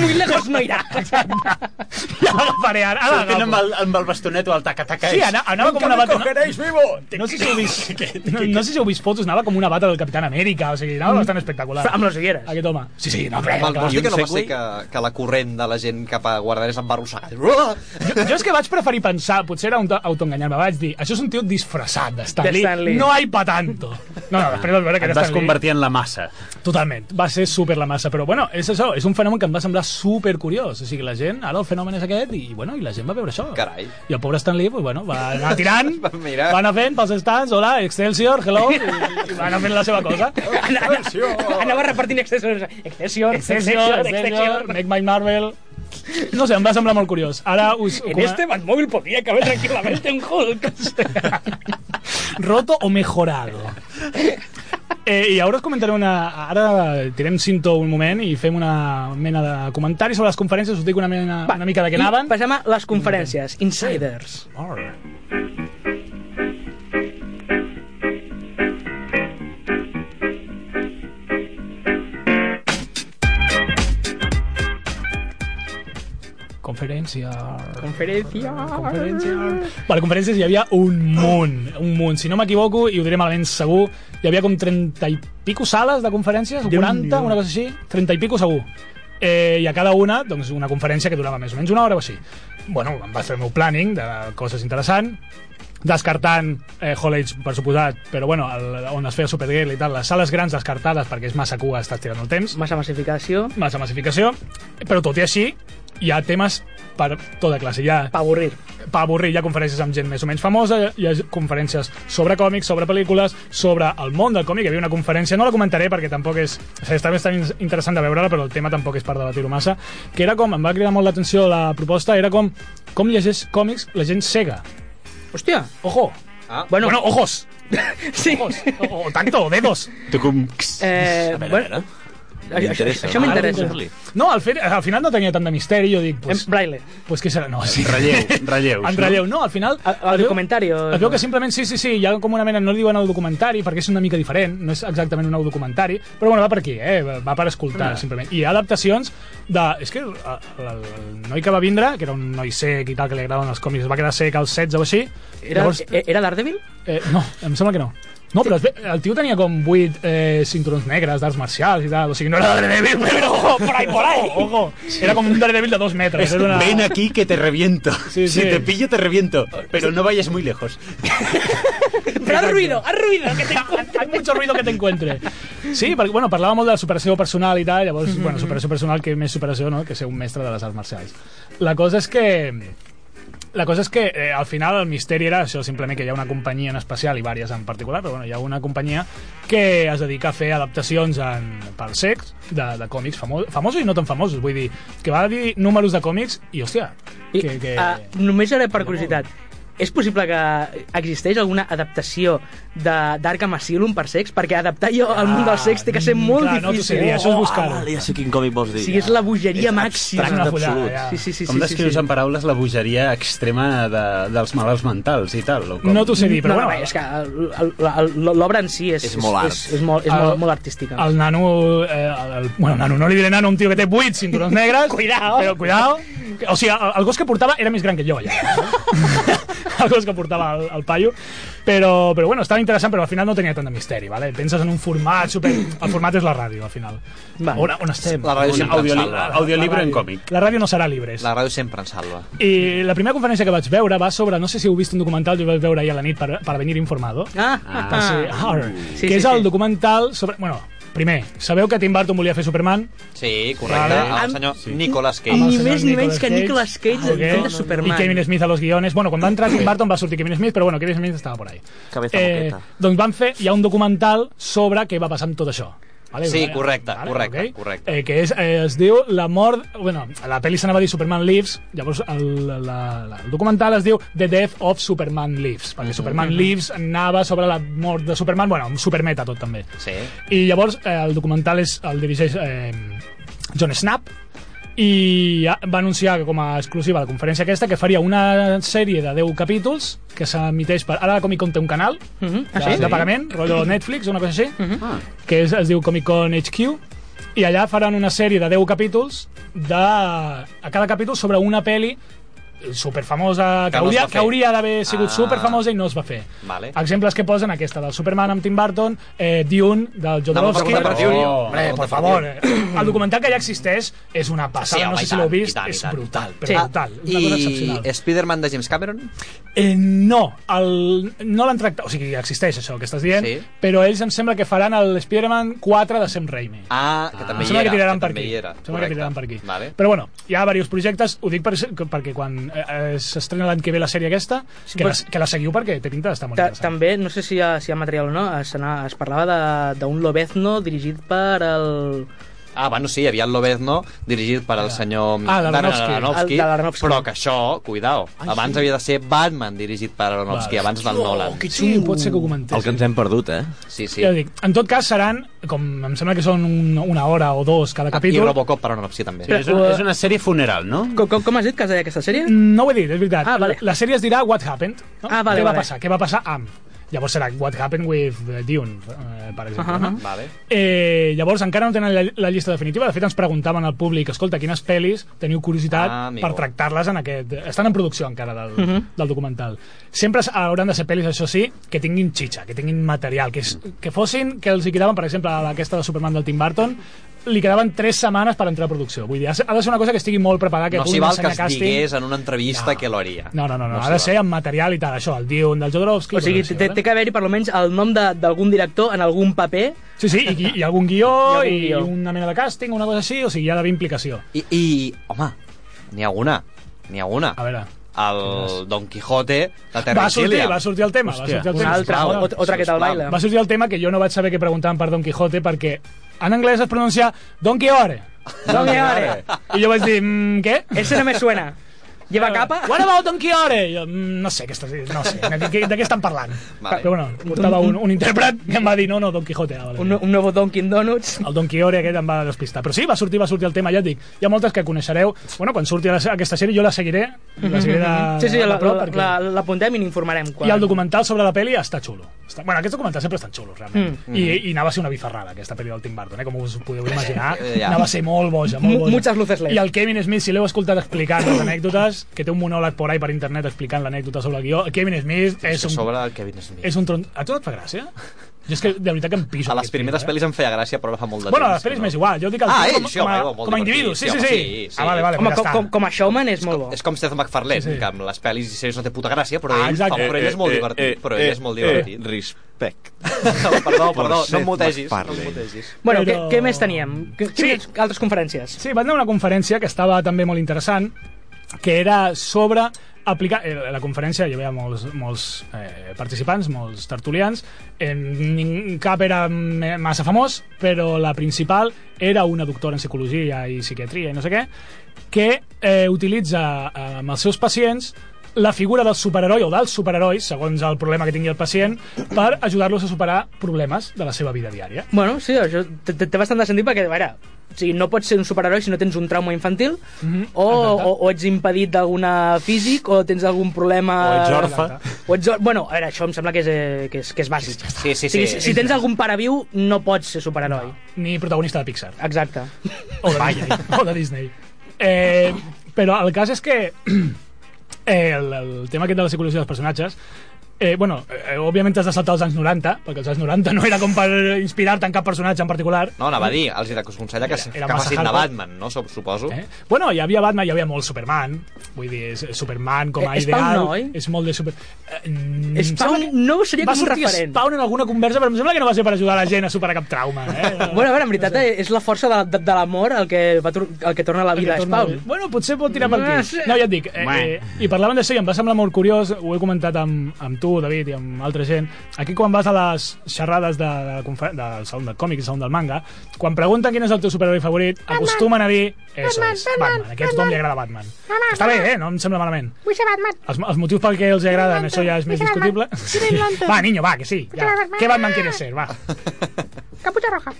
[SPEAKER 3] Muy lejos no irà.
[SPEAKER 4] Ja l'agafaré ara, ara
[SPEAKER 7] Sortint amb
[SPEAKER 4] l'agafo.
[SPEAKER 7] el, amb el bastonet o el taca-taca.
[SPEAKER 4] Sí,
[SPEAKER 7] és-
[SPEAKER 4] anava, anava com
[SPEAKER 7] Nunca
[SPEAKER 4] una
[SPEAKER 7] me
[SPEAKER 4] bata...
[SPEAKER 7] cogeréis vivo!
[SPEAKER 4] No sé, si heu vist, no, no sé si heu vist fotos, anava com una bata del Capitán Amèrica, o sigui, anava bastant espectacular.
[SPEAKER 3] Però amb les ulleres.
[SPEAKER 4] Aquest home. Sí, sí, no, però,
[SPEAKER 6] Val,
[SPEAKER 4] clar.
[SPEAKER 6] vols dir que no va
[SPEAKER 5] Segway?
[SPEAKER 6] ser que, que la corrent de la gent cap a Guardanes em va arrossegar? Uah!
[SPEAKER 4] Jo, jo és que vaig preferir pensar, potser era un to- autoenganyar-me, vaig dir, això és un tio disfressat de Stan
[SPEAKER 3] De
[SPEAKER 4] Lee,
[SPEAKER 3] Stan Lee.
[SPEAKER 4] no hay pa tanto. No, no, després vas veure que
[SPEAKER 7] Et
[SPEAKER 4] era
[SPEAKER 7] vas
[SPEAKER 4] Stan Lee.
[SPEAKER 7] convertir en la massa.
[SPEAKER 4] Totalment, va ser super la massa, però bueno, és això, és un fenomen que em va semblar super curiós, o sigui, la gent, ara el fenomen és aquest i bueno, i la gent va veure això.
[SPEAKER 6] Carai.
[SPEAKER 4] I el pobre Stan Lee, pues, bueno, va anar tirant,
[SPEAKER 6] Va mirar.
[SPEAKER 4] va anar fent pels stands, hola, Excelsior, hello, i, i va anar fent la seva cosa.
[SPEAKER 3] Ana- ana- Anava repartint excessos. Excessions,
[SPEAKER 4] Excelsior,
[SPEAKER 3] excessions,
[SPEAKER 4] Excelsior,
[SPEAKER 3] excessions.
[SPEAKER 4] Make My Marvel... No sé, em va semblar molt curiós. Ara us...
[SPEAKER 3] En este Batmóvil podía caber tranquilamente un Hulk.
[SPEAKER 4] roto o mejorado. Eh, I ara us comentaré una... Ara tirem cinto un moment i fem una mena de comentari sobre les conferències, us dic una, mena, una mica de què
[SPEAKER 3] I
[SPEAKER 4] anaven.
[SPEAKER 3] Passem a les conferències. Insiders.
[SPEAKER 4] Alright. Conferència.
[SPEAKER 3] Conferència.
[SPEAKER 4] Conferència. Vale, conferències hi havia un munt, un munt. Si no m'equivoco, i ho diré malament segur, hi havia com 30 i pico sales de conferències, o 40, una cosa així, 30 i pico segur. Eh, I a cada una, doncs, una conferència que durava més o menys una hora o així. Bueno, em vaig fer el meu planning de coses interessants, descartant eh, Hall Age, per suposat, però bueno, el, on es feia Supergirl i tal, les sales grans descartades perquè és massa cua, estàs tirant el temps
[SPEAKER 3] Massa massificació.
[SPEAKER 4] massa massificació, però tot i així hi ha temes per tota classe. Hi ha
[SPEAKER 3] Pa avorrir.
[SPEAKER 4] per avorrir, hi ha conferències amb gent més o menys famosa, hi ha conferències sobre còmics, sobre pel·lícules, sobre el món del còmic. Hi havia una conferència, no la comentaré perquè tampoc és... O sigui, està bastant interessant de veure-la, però el tema tampoc és per debatir-ho massa, que era com, em va cridar molt l'atenció la proposta, era com com llegeix còmics la gent cega.
[SPEAKER 3] Hòstia.
[SPEAKER 4] Ojo!
[SPEAKER 6] Ah.
[SPEAKER 4] Bueno, bueno ojos!
[SPEAKER 3] Sí.
[SPEAKER 4] Ojos! O, o tacto, o dedos!
[SPEAKER 3] Eh,
[SPEAKER 6] A veure, a
[SPEAKER 3] bueno,
[SPEAKER 6] veure.
[SPEAKER 3] això
[SPEAKER 6] M'interessa.
[SPEAKER 3] això m'interessa.
[SPEAKER 6] Ara,
[SPEAKER 4] No, al, fer, al final no tenia tant de misteri, jo dic,
[SPEAKER 3] En
[SPEAKER 4] pues,
[SPEAKER 3] braille.
[SPEAKER 4] pues què serà? No, sí.
[SPEAKER 7] Relleu, relleus.
[SPEAKER 4] En relleu, no, al final...
[SPEAKER 3] Al- al
[SPEAKER 4] es veu-
[SPEAKER 3] documentari, o-
[SPEAKER 4] Es veu que simplement, sí, sí, sí, hi ha com una mena, no li diuen el documentari, perquè és una mica diferent, no és exactament un documentari, però bueno, va per aquí, eh? va- va per escoltar, simplement. I hi ha adaptacions de... És que el, el, el noi que va vindre, que era un noi sec i tal, que li agraden els còmics, es va quedar sec als 16 o així,
[SPEAKER 3] Era,
[SPEAKER 4] llavors...
[SPEAKER 3] e- era Daredevil?
[SPEAKER 4] Eh, no, em sembla que no. No, però es ve, el tio tenia com 8 eh, cinturons negres d'arts marcials i tal, o sigui, no era Daredevil, però ojo, por ahí, por ahí, ojo. Era com un Daredevil de dos metres. Era una...
[SPEAKER 7] Ven aquí que te reviento.
[SPEAKER 4] Sí, sí.
[SPEAKER 7] Si te pillo, te reviento. Pero no vayas muy lejos.
[SPEAKER 3] Però ha ruïdo, ha ruïdo. Que te...
[SPEAKER 4] Hay mucho ruido que te encuentre. Sí, perquè, bueno, parlàvem molt de la superació personal i tal, llavors, mm -hmm.
[SPEAKER 3] Mm-hmm.
[SPEAKER 4] bueno, superació personal, que més superació, no?, que ser un mestre de les arts marcials. La cosa és que... La cosa és que eh, al final el misteri era això, simplement que hi ha una companyia en especial i vàries en particular, però bueno, hi ha una companyia que es dedica a fer adaptacions en, per sex de, de còmics famos, famosos i no tan famosos, vull dir, que va dir números de còmics i, hòstia,
[SPEAKER 3] I,
[SPEAKER 4] que... que...
[SPEAKER 3] ah, només era per curiositat. És possible que existeix alguna adaptació de- d'Arkham Asylum per sex? Perquè adaptar jo al món del sex té que ser molt
[SPEAKER 4] Ah, Mm, clar, no t'ho sé
[SPEAKER 3] difícil.
[SPEAKER 4] dir, això és buscar-ho.
[SPEAKER 6] Ah, vale, ja sé quin còmic vols dir.
[SPEAKER 3] O sigui, és la bogeria
[SPEAKER 6] És
[SPEAKER 3] màxima.
[SPEAKER 6] abstracte
[SPEAKER 4] És una follada,
[SPEAKER 6] absolut.
[SPEAKER 4] ja.
[SPEAKER 3] Sí, sí, sí.
[SPEAKER 7] Com
[SPEAKER 3] sí, sí,
[SPEAKER 7] descrius
[SPEAKER 3] sí.
[SPEAKER 7] en paraules la bogeria extrema de, dels malalts mentals i tal? O com?
[SPEAKER 4] No t'ho sé dir, però
[SPEAKER 3] no, no,
[SPEAKER 4] bueno,
[SPEAKER 3] és que el- el- el- l'obra en si és,
[SPEAKER 6] És molt art.
[SPEAKER 3] És, és, molt, és molt,
[SPEAKER 4] El-
[SPEAKER 3] molt artística.
[SPEAKER 4] El nano... Eh, el, el, bueno, nano, no li diré nano, un tio que té 8 cinturons negres.
[SPEAKER 3] Cuidao.
[SPEAKER 4] Però cuidao. O sigui, el, el gos que portava era més gran que jo, allà. el gos que portava el, el paio. Però, però bueno, estava interessant, però al final no tenia tant de misteri, vale? Penses en un format super... El format és la ràdio, al final.
[SPEAKER 3] Va.
[SPEAKER 4] On, on estem?
[SPEAKER 5] La ràdio sempre ens
[SPEAKER 7] Audioli
[SPEAKER 5] salva.
[SPEAKER 7] audiolibro en
[SPEAKER 4] ràdio.
[SPEAKER 7] còmic.
[SPEAKER 4] La ràdio no serà libre.
[SPEAKER 5] La ràdio sempre ens salva.
[SPEAKER 4] I la primera conferència que vaig veure va sobre... No sé si heu vist un documental, jo vaig veure ahir a la nit per, per venir informado.
[SPEAKER 3] Ah, ah,
[SPEAKER 4] Ah, sí,
[SPEAKER 3] ah.
[SPEAKER 4] Horror,
[SPEAKER 3] Sí,
[SPEAKER 4] que
[SPEAKER 3] sí,
[SPEAKER 4] és el
[SPEAKER 3] sí.
[SPEAKER 4] documental sobre... Bueno, primer, sabeu que Tim Burton volia fer Superman?
[SPEAKER 5] Sí, correcte.
[SPEAKER 4] Vale.
[SPEAKER 5] El senyor Nicolas
[SPEAKER 3] Ni
[SPEAKER 5] Cage.
[SPEAKER 4] senyor
[SPEAKER 3] més ni menys
[SPEAKER 4] Nicolas
[SPEAKER 3] que
[SPEAKER 4] Cage. Ah,
[SPEAKER 3] Nicolas Cage
[SPEAKER 4] Ok.
[SPEAKER 3] fent de Superman.
[SPEAKER 4] I Kevin Smith a los guiones. Bueno, quan va entrar Tim Burton va sortir Kevin Smith, però bueno, Kevin Smith estava por ahí.
[SPEAKER 6] Cabeza moqueta.
[SPEAKER 4] doncs van fer, hi ha un documental sobre què va passar amb tot això. Vale?
[SPEAKER 5] Sí, correcte, correcte,
[SPEAKER 4] ok?
[SPEAKER 5] correcte.
[SPEAKER 4] Eh, que és, eh, es diu La mort... Bueno, la pel·li s'anava a dir Superman Lives, llavors el, la, la, el documental es diu The Death of Superman Lives, perquè Superman Lives anava sobre la mort de Superman, bueno, amb supermeta tot també.
[SPEAKER 5] Sí.
[SPEAKER 4] I llavors eh, el documental és, el dirigeix eh, John Snap i ja va anunciar que com a exclusiva a la conferència aquesta que faria una sèrie de 10 capítols que s'emiteix per... Ara la Comic Con té un canal de,
[SPEAKER 3] Mhm. Ah,
[SPEAKER 4] de pagament, rotllo Netflix, una cosa així,
[SPEAKER 5] Mhm. Ah.
[SPEAKER 4] que és, es diu Comic Con HQ i allà faran una sèrie de 10 capítols de, a cada capítol sobre una peli superfamosa que,
[SPEAKER 5] Que no es
[SPEAKER 4] hauria,
[SPEAKER 5] va fer.
[SPEAKER 4] que hauria d'haver sigut
[SPEAKER 5] Ah.
[SPEAKER 4] superfamosa i no es va fer
[SPEAKER 5] Vale.
[SPEAKER 4] exemples que posen aquesta del Superman amb Tim Burton eh, Dune del Jodorowsky
[SPEAKER 5] preguntar per Dune.
[SPEAKER 4] Oh, hombre, por favor eh. el documental que ja existeix és una passada,
[SPEAKER 5] Ah, Sí, home,
[SPEAKER 4] no sé
[SPEAKER 5] i
[SPEAKER 4] si
[SPEAKER 5] tant,
[SPEAKER 4] l'heu
[SPEAKER 5] i
[SPEAKER 4] vist
[SPEAKER 5] tant, i
[SPEAKER 4] és
[SPEAKER 5] tant.
[SPEAKER 4] brutal,
[SPEAKER 5] Sí.
[SPEAKER 4] brutal una cosa excepcional
[SPEAKER 5] I Spider-Man de James Cameron?
[SPEAKER 4] Eh, no, el, no l'han tractat, o sigui, existeix això que estàs dient,
[SPEAKER 5] Sí.
[SPEAKER 4] però ells em sembla que faran el Spider-Man 4 de Sam Raimi.
[SPEAKER 5] Ah, que també
[SPEAKER 4] em
[SPEAKER 5] hi
[SPEAKER 4] sembla
[SPEAKER 5] era.
[SPEAKER 4] que tiraran per
[SPEAKER 5] també
[SPEAKER 4] aquí.
[SPEAKER 5] hi era.
[SPEAKER 4] Em sembla que
[SPEAKER 5] Correcte.
[SPEAKER 4] tiraran per aquí.
[SPEAKER 5] Vale.
[SPEAKER 4] Però bueno, hi ha diversos projectes, ho dic per, perquè quan eh, eh, s'estrena l'any que ve la sèrie aquesta, que,
[SPEAKER 3] però-
[SPEAKER 4] la, que la seguiu perquè té pinta d'estar molt
[SPEAKER 3] Ta
[SPEAKER 4] interessant.
[SPEAKER 3] també, no sé si hi ha, si hi ha material o no, es, anà- es parlava de- d'un lobezno dirigit per el...
[SPEAKER 5] Ah, bueno, sí, hi havia el Lobezno dirigit per al senyor
[SPEAKER 4] Ah, l'Aronofsky.
[SPEAKER 5] Dan Aronofsky,
[SPEAKER 3] El de l'Aronofsky.
[SPEAKER 5] però que això, cuidao, abans havia de ser Batman dirigit per Aronofsky,
[SPEAKER 4] Vale. Oh,
[SPEAKER 5] abans del Nolan.
[SPEAKER 4] Que sí, pot ser que ho comentés.
[SPEAKER 6] El que ens hem perdut, eh?
[SPEAKER 5] Sí, sí.
[SPEAKER 4] Ja dic, en tot cas seran, com em sembla que són un, una hora o dos cada
[SPEAKER 5] Ah, I
[SPEAKER 4] capítol.
[SPEAKER 5] Robocop per Aronofsky també.
[SPEAKER 7] Però és, una, és una sèrie funeral, no?
[SPEAKER 3] Com, com, com has dit que es deia aquesta sèrie?
[SPEAKER 4] No ho he dit, és veritat.
[SPEAKER 3] Ah, vale.
[SPEAKER 4] La sèrie es dirà What Happened. No?
[SPEAKER 3] Ah, vale,
[SPEAKER 4] Què va
[SPEAKER 3] vale.
[SPEAKER 4] passar? Què va passar amb... Llavors serà What Happened with eh, Dune, eh, per exemple.
[SPEAKER 3] Ah, ah,
[SPEAKER 4] no?
[SPEAKER 5] Vale.
[SPEAKER 4] Eh, llavors encara no tenen la, la llista definitiva. De fet, ens preguntaven al públic, escolta, quines pel·lis teniu curiositat
[SPEAKER 5] Ah, amigo.
[SPEAKER 4] per tractar-les en aquest... Estan en producció encara del, del documental. Sempre s- hauran de ser pel·lis, això sí, que tinguin xitxa, que tinguin material, que, és, que fossin, que els hi quedaven, per exemple, a aquesta de Superman del Tim Burton, li quedaven 3 setmanes per entrar a producció. Vull dir, ha de ser- ha de ser una cosa que estigui molt preparada, que
[SPEAKER 5] No s'hi
[SPEAKER 4] puguin
[SPEAKER 5] val que
[SPEAKER 4] ensenyar
[SPEAKER 5] es
[SPEAKER 4] càsting.
[SPEAKER 5] digués en una entrevista
[SPEAKER 4] No.
[SPEAKER 5] que lo haria.
[SPEAKER 4] No, no, no, no,
[SPEAKER 5] No
[SPEAKER 4] ha
[SPEAKER 5] s'hi
[SPEAKER 4] de
[SPEAKER 5] val.
[SPEAKER 4] ser amb material i tal, això, el Dune del Jodorowsky...
[SPEAKER 3] O sigui,
[SPEAKER 4] tot això,
[SPEAKER 3] té,
[SPEAKER 4] vale?
[SPEAKER 3] té que haver-hi per almenys el nom de- d'algun director en algun paper.
[SPEAKER 4] Sí, sí, i, i algun guió,
[SPEAKER 3] I algun
[SPEAKER 4] i,
[SPEAKER 3] guió.
[SPEAKER 4] una mena de càsting, una cosa així, o sigui, hi ha d'haver implicació.
[SPEAKER 5] I, i home, n'hi ha una. N'hi ha una.
[SPEAKER 4] A veure...
[SPEAKER 5] El Don Quijote de Terry
[SPEAKER 4] Va sortir,
[SPEAKER 5] Gilliam.
[SPEAKER 4] va sortir el tema. va
[SPEAKER 7] Hòstia.
[SPEAKER 4] sortir el
[SPEAKER 3] Una
[SPEAKER 4] tema.
[SPEAKER 3] altra,
[SPEAKER 5] sisplau,
[SPEAKER 3] ot- otra que te'l
[SPEAKER 5] sisplau.
[SPEAKER 3] baila.
[SPEAKER 4] Va sortir el tema que jo no vaig saber que preguntaven per Don Quijote perquè en anglès es pronuncia Don Quijote.
[SPEAKER 3] No me ahora.
[SPEAKER 4] I jo vaig dir, mm, què?
[SPEAKER 3] Ese no me suena. Lleva Eh, capa?
[SPEAKER 4] What about Don Quijote? I Jo, "Mm, no sé, què estàs, no sé, de, què- de què estan parlant?
[SPEAKER 5] Vale.
[SPEAKER 4] Però bueno, portava un, un intèrpret que em va dir, no, no, Don Quijote. Ah, vale.
[SPEAKER 3] Un, un nuevo Dunkin' Donuts.
[SPEAKER 4] el Don Quijote aquest em va despistar. Però sí, va sortir, va sortir el tema, ja et dic. Hi ha moltes que coneixereu. Bueno, quan surti la, aquesta sèrie jo la seguiré. La seguiré de,
[SPEAKER 3] Sí, sí,
[SPEAKER 4] de
[SPEAKER 3] la-
[SPEAKER 4] prop,
[SPEAKER 3] la-
[SPEAKER 4] perquè-
[SPEAKER 3] la- l'apuntem i n'informarem. Quan...
[SPEAKER 4] I el documental sobre la pel·li està xulo. Està... Bueno, aquests documentals sempre estan xulos, realment. Mm. I, I anava a ser una bifarrada, aquesta pel·li del Tim Burton, eh? com us podeu imaginar.
[SPEAKER 5] Ja.
[SPEAKER 4] Anava a ser molt boja, molt
[SPEAKER 3] Mu-
[SPEAKER 4] boja.
[SPEAKER 3] muchas luces LED.
[SPEAKER 4] I el Kevin Smith, si l'heu escoltat explicant les anècdotes, que té un monòleg por ahí per internet explicant l'anècdota sobre el guió, el Kevin Smith
[SPEAKER 5] És
[SPEAKER 4] és
[SPEAKER 5] que
[SPEAKER 4] un,
[SPEAKER 5] sobre el Kevin Smith.
[SPEAKER 4] és un tron... A tu no et fa gràcia? Jo és que de veritat que em piso.
[SPEAKER 5] A les
[SPEAKER 4] aquest
[SPEAKER 5] primeres
[SPEAKER 4] tio, eh?
[SPEAKER 5] pel·lis em feia gràcia, però ara fa molt de temps.
[SPEAKER 4] Bueno, a les pel·lis
[SPEAKER 5] que
[SPEAKER 4] m'és igual. Jo dic el
[SPEAKER 5] Ah,
[SPEAKER 4] tio
[SPEAKER 5] ell,
[SPEAKER 4] com,
[SPEAKER 5] sí,
[SPEAKER 4] com,
[SPEAKER 5] home,
[SPEAKER 4] a,
[SPEAKER 5] igual, molt
[SPEAKER 4] com a individus. Sí,
[SPEAKER 5] divertit,
[SPEAKER 4] sí, sí.
[SPEAKER 5] sí, home, sí, sí.
[SPEAKER 4] Ah, vale, vale,
[SPEAKER 3] Home,
[SPEAKER 4] ja
[SPEAKER 3] com,
[SPEAKER 4] està.
[SPEAKER 3] com, com a showman és molt bo.
[SPEAKER 5] És com Seth MacFarlane,
[SPEAKER 4] Sí, sí.
[SPEAKER 5] que amb les pel·lis i sèries no té puta gràcia, però
[SPEAKER 4] Ah,
[SPEAKER 5] ell,
[SPEAKER 4] exacte.
[SPEAKER 5] fa- però ell és molt divertit. però ell és molt divertit.
[SPEAKER 6] Eh, respect.
[SPEAKER 5] perdó,
[SPEAKER 6] Por
[SPEAKER 5] perdó, no
[SPEAKER 6] Seth
[SPEAKER 5] em mutegis. No
[SPEAKER 6] MacFarlane.
[SPEAKER 5] em mutegis.
[SPEAKER 3] Bueno,
[SPEAKER 4] Però-
[SPEAKER 3] què, què més teníem? Que,
[SPEAKER 4] Sí.
[SPEAKER 3] sí. Altres conferències.
[SPEAKER 4] Sí, va anar a una conferència que estava també molt interessant, que era sobre aplicar... eh, La conferència hi havia molts, molts eh, participants, molts tertulians, eh, nin- cap era me- massa famós, però la principal era una doctora en psicologia i psiquiatria i no sé què, que eh, utilitza eh, amb els seus pacients la figura del superheroi o dels superherois, segons el problema que tingui el pacient, per ajudar-los a superar problemes de la seva vida diària.
[SPEAKER 3] Bueno, sí, això té- té té bastant de sentit perquè, a veure, o sigui, no pots ser un superheroi si no tens un trauma infantil
[SPEAKER 4] Mhm,
[SPEAKER 3] o,
[SPEAKER 4] exacte.
[SPEAKER 3] o, o ets impedit d'alguna físic o tens algun problema...
[SPEAKER 6] O ets orfe.
[SPEAKER 3] O ets or... Bueno, a veure, això em sembla que és, eh, que és, que és bàsic.
[SPEAKER 5] Sí, sí,
[SPEAKER 3] O sigui,
[SPEAKER 5] sí.
[SPEAKER 3] si, si tens algun pare viu, no pots ser superheroi.
[SPEAKER 4] Ni protagonista de Pixar.
[SPEAKER 3] Exacte.
[SPEAKER 4] O de Disney. o de Disney. Eh, però el cas és que eh, el, el tema aquest de la psicologia dels personatges Eh, bueno, eh, òbviament t'has de saltar als anys 90, perquè als anys 90 no era com per inspirar-te en cap personatge en particular.
[SPEAKER 5] No, anava a dir, els aconsella que,
[SPEAKER 4] Era-
[SPEAKER 5] que
[SPEAKER 4] era massa
[SPEAKER 5] facin de
[SPEAKER 4] hardcore.
[SPEAKER 5] Batman, no? Sup- Suposo.
[SPEAKER 4] Eh? Bueno, hi havia Batman, hi havia molt Superman. Vull dir, és, Superman com a
[SPEAKER 3] Eh, Spawn
[SPEAKER 4] ideal...
[SPEAKER 3] no, oi?
[SPEAKER 4] És molt de super... Eh, mm,
[SPEAKER 3] Spawn
[SPEAKER 4] em sembla que
[SPEAKER 3] no seria
[SPEAKER 4] va
[SPEAKER 3] com un
[SPEAKER 4] sortir
[SPEAKER 3] referent.
[SPEAKER 4] Spawn en alguna conversa, però em sembla que no va ser per ajudar la gent a superar cap trauma. Eh?
[SPEAKER 3] Bueno, a veure, en veritat eh, és la força de, de, de l'amor el, que va tor- el que torna la vida a Spawn.
[SPEAKER 4] Bueno, potser pot tirar per
[SPEAKER 3] No
[SPEAKER 4] aquí.
[SPEAKER 3] sé.
[SPEAKER 4] No, ja et dic. Eh, eh,
[SPEAKER 7] Bueno.
[SPEAKER 4] I parlaven d'això i em va semblar molt curiós, ho he comentat amb, amb tu, David, i amb altra gent. Aquí quan vas a les xerrades de, de, la confer- del Saló del Còmic i Saló del Manga, quan pregunten quin és el teu superheroi favorit, acostumen a dir... Eso Batman, és, Batman. Aquí a tothom li agrada Batman. Està bé, eh? No em sembla malament.
[SPEAKER 8] Vull ser Batman.
[SPEAKER 4] Els, els motius per què els agraden,
[SPEAKER 8] Green
[SPEAKER 4] això ja és
[SPEAKER 8] Lantern,
[SPEAKER 4] més
[SPEAKER 8] Green
[SPEAKER 4] discutible.
[SPEAKER 8] Lantern, Green Lantern.
[SPEAKER 4] Va, niño, va, que sí. Ja.
[SPEAKER 8] Batman.
[SPEAKER 4] ¿Qué Batman quieres ser? Va.
[SPEAKER 8] Capucha roja.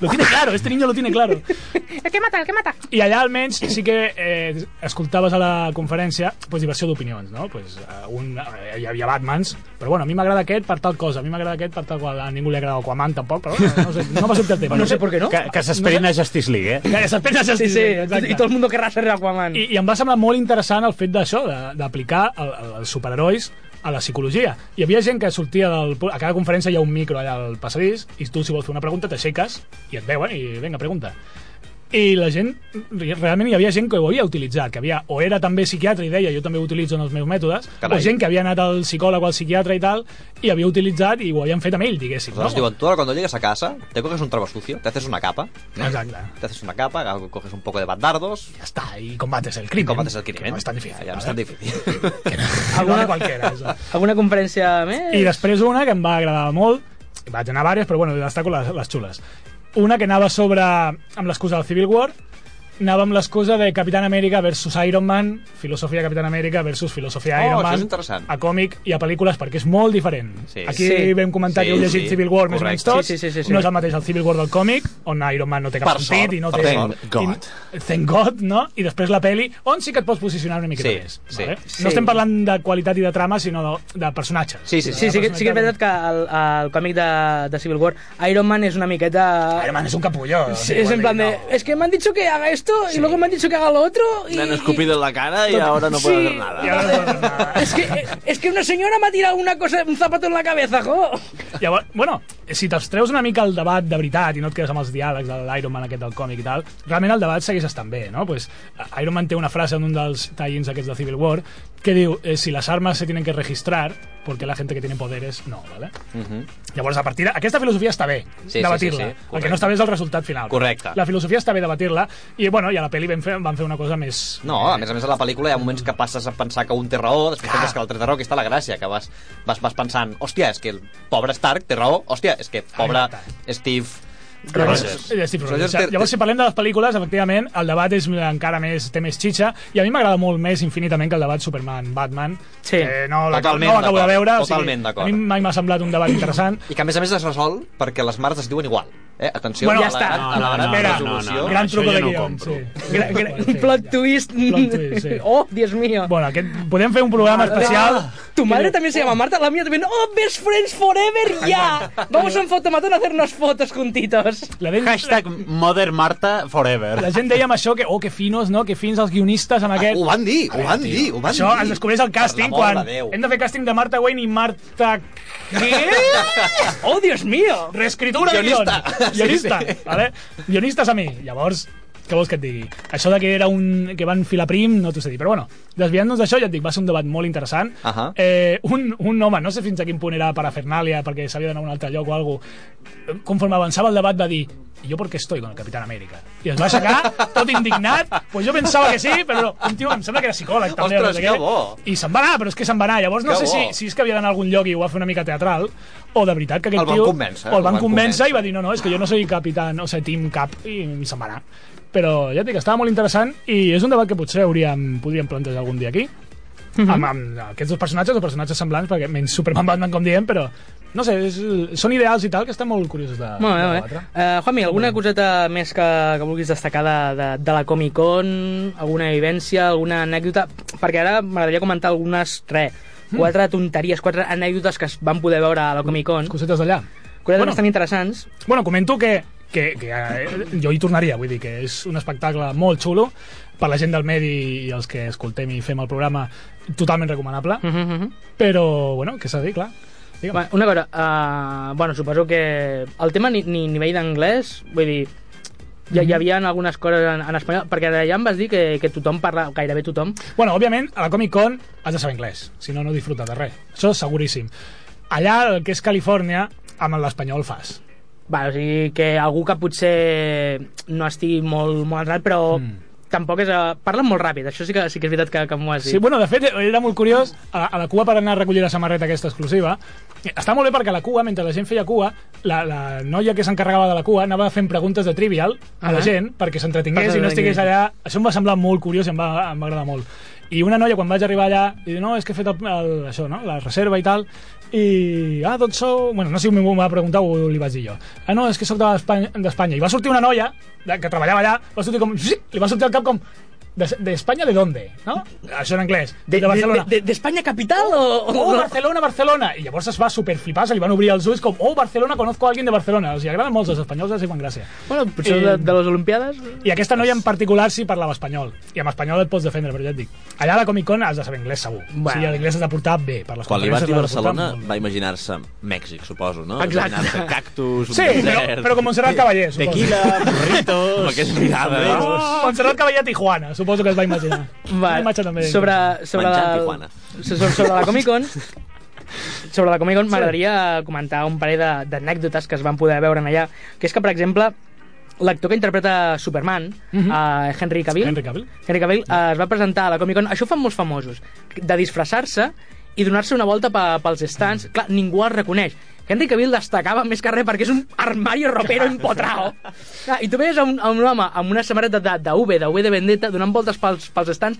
[SPEAKER 4] Lo tiene claro, este niño lo tiene claro.
[SPEAKER 8] El que mata, el que mata.
[SPEAKER 4] I allà almenys sí que eh, escoltaves a la conferència pues, diversió d'opinions, no? Pues, eh, un, eh, hi havia Batmans, però bueno, a mi m'agrada aquest per tal cosa, a mi m'agrada aquest per tal qual, a ningú li agrada Aquaman tampoc, però bueno, no, sé, no va sortir el tema.
[SPEAKER 3] No sé per què no.
[SPEAKER 7] Que, que s'esperin a Justice League, eh?
[SPEAKER 4] Ja, ja s'espera, ja
[SPEAKER 3] Sí, sí,
[SPEAKER 4] exacte.
[SPEAKER 3] i tot el món querrà ser Aquaman.
[SPEAKER 4] I, I em va semblar molt interessant el fet d'això, de- d'aplicar el- el- els superherois a la psicologia. Hi havia gent que sortia del... pu- A cada conferència hi ha un micro allà al passadís i tu, si vols fer una pregunta, t'aixeques i et veuen i vinga, pregunta. I la gent, re- realment hi havia gent que ho havia utilitzat, que havia, o era també psiquiatre i deia, jo també ho utilitzo en els meus mètodes,
[SPEAKER 5] Carai.
[SPEAKER 4] o gent que havia anat al psicòleg o al psiquiatre i tal, i havia utilitzat i ho havien fet amb ell, diguéssim.
[SPEAKER 5] Entonces diuen, tú ahora cuando llegues a casa, te coges un trapo sucio, te haces una capa,
[SPEAKER 4] Exacto.
[SPEAKER 5] te haces una capa, algo- coges un poco de dardos
[SPEAKER 4] Ya está, y combates el
[SPEAKER 5] y
[SPEAKER 4] crimen.
[SPEAKER 5] combates el crimen.
[SPEAKER 4] Que no es tan difícil. eh?
[SPEAKER 5] Ya, ya no es
[SPEAKER 4] ¿vale?
[SPEAKER 5] tan difícil.
[SPEAKER 4] Algo de cualquiera, eso.
[SPEAKER 3] Alguna conferència més?
[SPEAKER 4] I després una que em va agradar molt, vaig anar a diverses, però bueno, destaco les, les xules. Una que anava sobre, amb l'excusa del Civil War, anava amb l'excusa de Capitán América versus Iron Man, filosofia Capitán Amèrica versus filosofia
[SPEAKER 5] Oh,
[SPEAKER 4] Iron
[SPEAKER 5] això
[SPEAKER 4] Man,
[SPEAKER 5] és interessant.
[SPEAKER 4] a còmic i a pel·lícules, perquè és molt diferent.
[SPEAKER 5] Sí.
[SPEAKER 4] Aquí
[SPEAKER 3] Sí.
[SPEAKER 4] vam comentar
[SPEAKER 5] Sí,
[SPEAKER 4] que heu llegit
[SPEAKER 5] sí.
[SPEAKER 4] Civil War més o
[SPEAKER 5] Correcte.
[SPEAKER 4] menys tots,
[SPEAKER 3] Sí, sí, sí, sí, sí.
[SPEAKER 4] no és el mateix el Civil War del còmic, on Iron Man no té cap
[SPEAKER 5] Per
[SPEAKER 4] sentit
[SPEAKER 5] sort,
[SPEAKER 4] i no
[SPEAKER 5] per
[SPEAKER 4] té...
[SPEAKER 5] sort.
[SPEAKER 4] i- Thank God, no? I després la peli, on sí que et pots posicionar una miqueta
[SPEAKER 5] Sí,
[SPEAKER 4] més.
[SPEAKER 5] sí.
[SPEAKER 4] vale?
[SPEAKER 3] Sí.
[SPEAKER 4] No estem parlant de qualitat i de trama, sinó de, de personatges.
[SPEAKER 5] Sí, sí,
[SPEAKER 3] Sí, sí, que- sí que és veritat que el, el còmic de, de Civil War, Iron Man és una miqueta...
[SPEAKER 4] Iron Man es un capullo.
[SPEAKER 3] Sí, és en plan de... Es que m'han dicho que haga esto y luego me han dicho que haga lo otro y...
[SPEAKER 6] Le han escupido en la cara y ahora no puedo
[SPEAKER 3] Sí,
[SPEAKER 6] hacer nada.
[SPEAKER 4] Y ahora no puedo hacer nada.
[SPEAKER 3] Es que, es que una señora me ha tirado una cosa, un zapato en la cabeza, jo.
[SPEAKER 4] Llavors, bueno, si te'ls treus una mica el debat de veritat i no et quedes amb els diàlegs de l'Iron Man aquest del còmic i tal, realment el debat segueix estant bé, no? Pues, eh, Iron Man té una frase en un dels tallins aquests de Civil War que diu, eh, si les armes se tienen que registrar, porque la gente que tiene poderes no, ¿vale? Llavors, a partir de... Aquesta filosofia està bé,
[SPEAKER 5] Sí, sí,
[SPEAKER 4] debatir-la.
[SPEAKER 5] sí, sí,
[SPEAKER 4] el
[SPEAKER 5] correcte.
[SPEAKER 4] que no està bé és el resultat final.
[SPEAKER 5] Correcte.
[SPEAKER 4] La filosofia està bé debatir-la, i bueno, i a la pel·li van fer, van fer una cosa més...
[SPEAKER 5] No, a més a més a la pel·lícula hi ha moments que passes a pensar que un té raó, després
[SPEAKER 6] Ah.
[SPEAKER 5] penses que l'altre té raó, que està la gràcia, que vas, vas, vas pensant, hòstia, és que el pobre Stark té raó, hòstia, és que pobre Steve...
[SPEAKER 4] Rogers.
[SPEAKER 5] Rogers.
[SPEAKER 4] Steve Rogers.
[SPEAKER 5] Rogers té-
[SPEAKER 4] eh, Llavors, si parlem de les pel·lícules, efectivament, el debat és encara més, té més xitxa, i a mi m'agrada molt més infinitament que el debat Superman-Batman,
[SPEAKER 3] Sí.
[SPEAKER 4] que no, la,
[SPEAKER 5] Totalment
[SPEAKER 4] no l'acabo de
[SPEAKER 5] d'acord,
[SPEAKER 4] veure. o sigui,
[SPEAKER 5] totalment
[SPEAKER 4] a
[SPEAKER 5] d'acord.
[SPEAKER 4] mi mai m'ha semblat un debat interessant.
[SPEAKER 5] I que a més a més es resol perquè les mares es diuen igual. Eh? Atenció
[SPEAKER 4] Bueno,
[SPEAKER 5] a la,
[SPEAKER 4] ja està.
[SPEAKER 5] gran- a la gran
[SPEAKER 4] No, no, no,
[SPEAKER 5] resolució. Ah,
[SPEAKER 7] no, no.
[SPEAKER 4] Gran
[SPEAKER 7] això
[SPEAKER 4] truco
[SPEAKER 7] ja
[SPEAKER 4] de
[SPEAKER 7] no ho
[SPEAKER 4] guió.
[SPEAKER 7] compro.
[SPEAKER 3] Gra, gra, un plot twist.
[SPEAKER 4] Plot twist, sí.
[SPEAKER 3] Oh, Dios mío. Ah,
[SPEAKER 4] Bueno, aquest, podem fer un programa especial...
[SPEAKER 3] Tu madre también se llama Marta, la mía también. ¡Oh, best friends forever, ya! Vamos a un fotomatón a hacer unas fotos juntitos.
[SPEAKER 4] La gent,
[SPEAKER 7] Hashtag Mother Marta Forever.
[SPEAKER 4] la gent dèiem això, que, oh, que finos, no? Que fins els guionistes amb
[SPEAKER 5] Ah,
[SPEAKER 4] aquest...
[SPEAKER 5] ho van dir, ho van dir, ho van
[SPEAKER 4] Això
[SPEAKER 5] dir.
[SPEAKER 4] es descobreix al càsting
[SPEAKER 5] Per l'amor
[SPEAKER 4] quan
[SPEAKER 5] de Déu.
[SPEAKER 4] hem de fer càsting de Marta Wayne i Marta... Què?
[SPEAKER 3] ¡Oh, Dios mío!
[SPEAKER 4] Reescritura de guion.
[SPEAKER 5] Guionista.
[SPEAKER 4] Guionista,
[SPEAKER 5] Sí, sí.
[SPEAKER 4] vale? Guionistes a mi. Llavors, què vols que et digui? Això de que era un... que van filar prim, no t'ho sé dir. Però bueno, desviant-nos d'això, ja et dic, va ser un debat molt interessant.
[SPEAKER 5] Ahà.
[SPEAKER 4] eh, un, un home, no sé fins a quin punt era parafernàlia, perquè s'havia d'anar a un altre lloc o alguna cosa, conforme avançava el debat va dir "¿Y jo perquè estoy con el Capitán América i es va aixecar tot indignat pues jo pensava que sí, però no. un tio em sembla que era psicòleg també, o no
[SPEAKER 5] Ostres,
[SPEAKER 4] sé
[SPEAKER 5] que
[SPEAKER 4] què.
[SPEAKER 5] bo.
[SPEAKER 4] i se'n va anar, però és que se'n va anar llavors no
[SPEAKER 5] Que
[SPEAKER 4] sé si,
[SPEAKER 5] bo.
[SPEAKER 4] si és que havia d'anar a algun lloc i ho va fer una mica teatral o de veritat que aquest
[SPEAKER 5] El van
[SPEAKER 4] tio
[SPEAKER 5] convèncer,
[SPEAKER 4] o el van convèncer i va dir no, no, és que jo no soy capitán, o sigui, team cap i se'n va anar però ja et dic, estava molt interessant i és un debat que potser hauríem, podríem plantejar algun dia aquí.
[SPEAKER 3] Mhm.
[SPEAKER 4] amb, amb aquests dos personatges o personatges semblants, perquè menys Superman Batman, com diem, però no sé, és, són ideals i tal, que estan molt curiosos de,
[SPEAKER 3] Molt bé,
[SPEAKER 4] de
[SPEAKER 3] molt bé. Uh, Juanmi, alguna coseta més que, que vulguis destacar de, de, de la Comic-Con? Alguna vivència, alguna anècdota? Perquè ara m'agradaria comentar algunes, re, quatre tonteries, quatre anècdotes que es van poder veure a la Comic-Con.
[SPEAKER 4] Cosetes d'allà.
[SPEAKER 3] Coses
[SPEAKER 4] Bueno.
[SPEAKER 3] bastant interessants.
[SPEAKER 4] Bueno, comento que, que, que eh, jo hi tornaria, vull dir que és un espectacle molt xulo per la gent del medi i els que escoltem i fem el programa totalment recomanable,
[SPEAKER 3] Uh -huh, uh -huh.
[SPEAKER 4] però, bueno, què s'ha de dir, clar. Digue'm.
[SPEAKER 3] Bueno, Una cosa, uh, bueno, suposo que el tema ni, ni nivell d'anglès, vull dir, hi, hi havia algunes coses en, en espanyol, perquè allà em vas dir que, que tothom parla, gairebé tothom.
[SPEAKER 4] Bueno, òbviament, a la Comic Con has de saber anglès, si no, no disfruta de res. Això és seguríssim. Allà, el que és Califòrnia, amb l'espanyol fas.
[SPEAKER 3] Va, o sigui, que algú que potser no estigui molt, molt entrat, però mm. tampoc és... eh, Parlen molt ràpid, això sí que, sí que és veritat que, que m'ho has dit.
[SPEAKER 4] Sí, bueno, de fet, era molt curiós, a la, a la cua per anar a recollir la samarreta aquesta exclusiva, està molt bé perquè a la cua, mentre la gent feia cua, la, la noia que s'encarregava de la cua anava fent preguntes de trivial a la
[SPEAKER 3] Ah.
[SPEAKER 4] gent perquè s'entretingués
[SPEAKER 3] Per
[SPEAKER 4] i no estigués
[SPEAKER 3] entretenir.
[SPEAKER 4] allà... Això em va semblar molt curiós i em va, em va agradar molt. I una noia, quan vaig arribar allà, i diu, no, és que he fet el, el, això, no?, la reserva i tal, i, ah, doncs sou... Bueno, no sé si m'ho va preguntar o li vaig dir jo. Ah, no, és que sóc de l'Espanya- d'Espanya. I va sortir una noia de- que treballava allà, va sortir com... Li va sortir al cap com... "De- ¿D'Espanya de, dónde? ¿No? Això en anglès. De, de Barcelona.
[SPEAKER 3] de, d'Espanya capital o...
[SPEAKER 4] Oh, Barcelona, Barcelona! I llavors es va superflipar, se li van obrir els ulls com, oh, Barcelona, conozco a alguien de Barcelona. Els hi agraden molts els espanyols, els hi fan gràcia.
[SPEAKER 3] Bueno, potser de, de les Olimpiades...
[SPEAKER 4] I aquesta noia en particular sí parlava espanyol. I amb espanyol et pots defendre, però ja et dic. Allà a la Comic Con has de saber anglès, segur.
[SPEAKER 3] Bueno.
[SPEAKER 4] Bueno. O sigui, l'anglès has de portar bé. Per les
[SPEAKER 6] Quan li va
[SPEAKER 4] conferències
[SPEAKER 6] arribar a
[SPEAKER 4] l'has de portar
[SPEAKER 6] Barcelona
[SPEAKER 4] molt bé.
[SPEAKER 6] va imaginar-se Mèxic, suposo, no?
[SPEAKER 3] Exacte.
[SPEAKER 6] Imaginar-se cactus, un
[SPEAKER 4] Sí, però,
[SPEAKER 6] desert...
[SPEAKER 4] però com Montserrat Cavaller, suposo.
[SPEAKER 7] Tequila, burritos...
[SPEAKER 6] Amb aquesta mirada, eh?
[SPEAKER 7] sombreros.
[SPEAKER 4] Oh, Montserrat Cavaller a Tijuana, suposo que es va imaginar. Una imatge també.
[SPEAKER 3] sobre, sobre,
[SPEAKER 6] Menjant
[SPEAKER 3] la,
[SPEAKER 6] Tijuana.
[SPEAKER 3] sobre, sobre la Comic-Con... Sobre la Comic-Con m'agradaria comentar un parell de- d'anècdotes que es van poder veure en allà, que és que, per exemple, l'actor que interpreta Superman, uh Henry Cavill,
[SPEAKER 4] Henry Cavill.
[SPEAKER 3] Henry Cavill eh, es va presentar a la Comic Con, això ho fan molts famosos, de disfressar-se i donar-se una volta pe, pels stands. Clar, ningú el reconeix. Henry Cavill destacava més que res perquè és un armario ropero empotrao. Clar, I tu veies a un, a un home amb una samarreta de, de V, de V de Vendetta, donant voltes pels, pels stands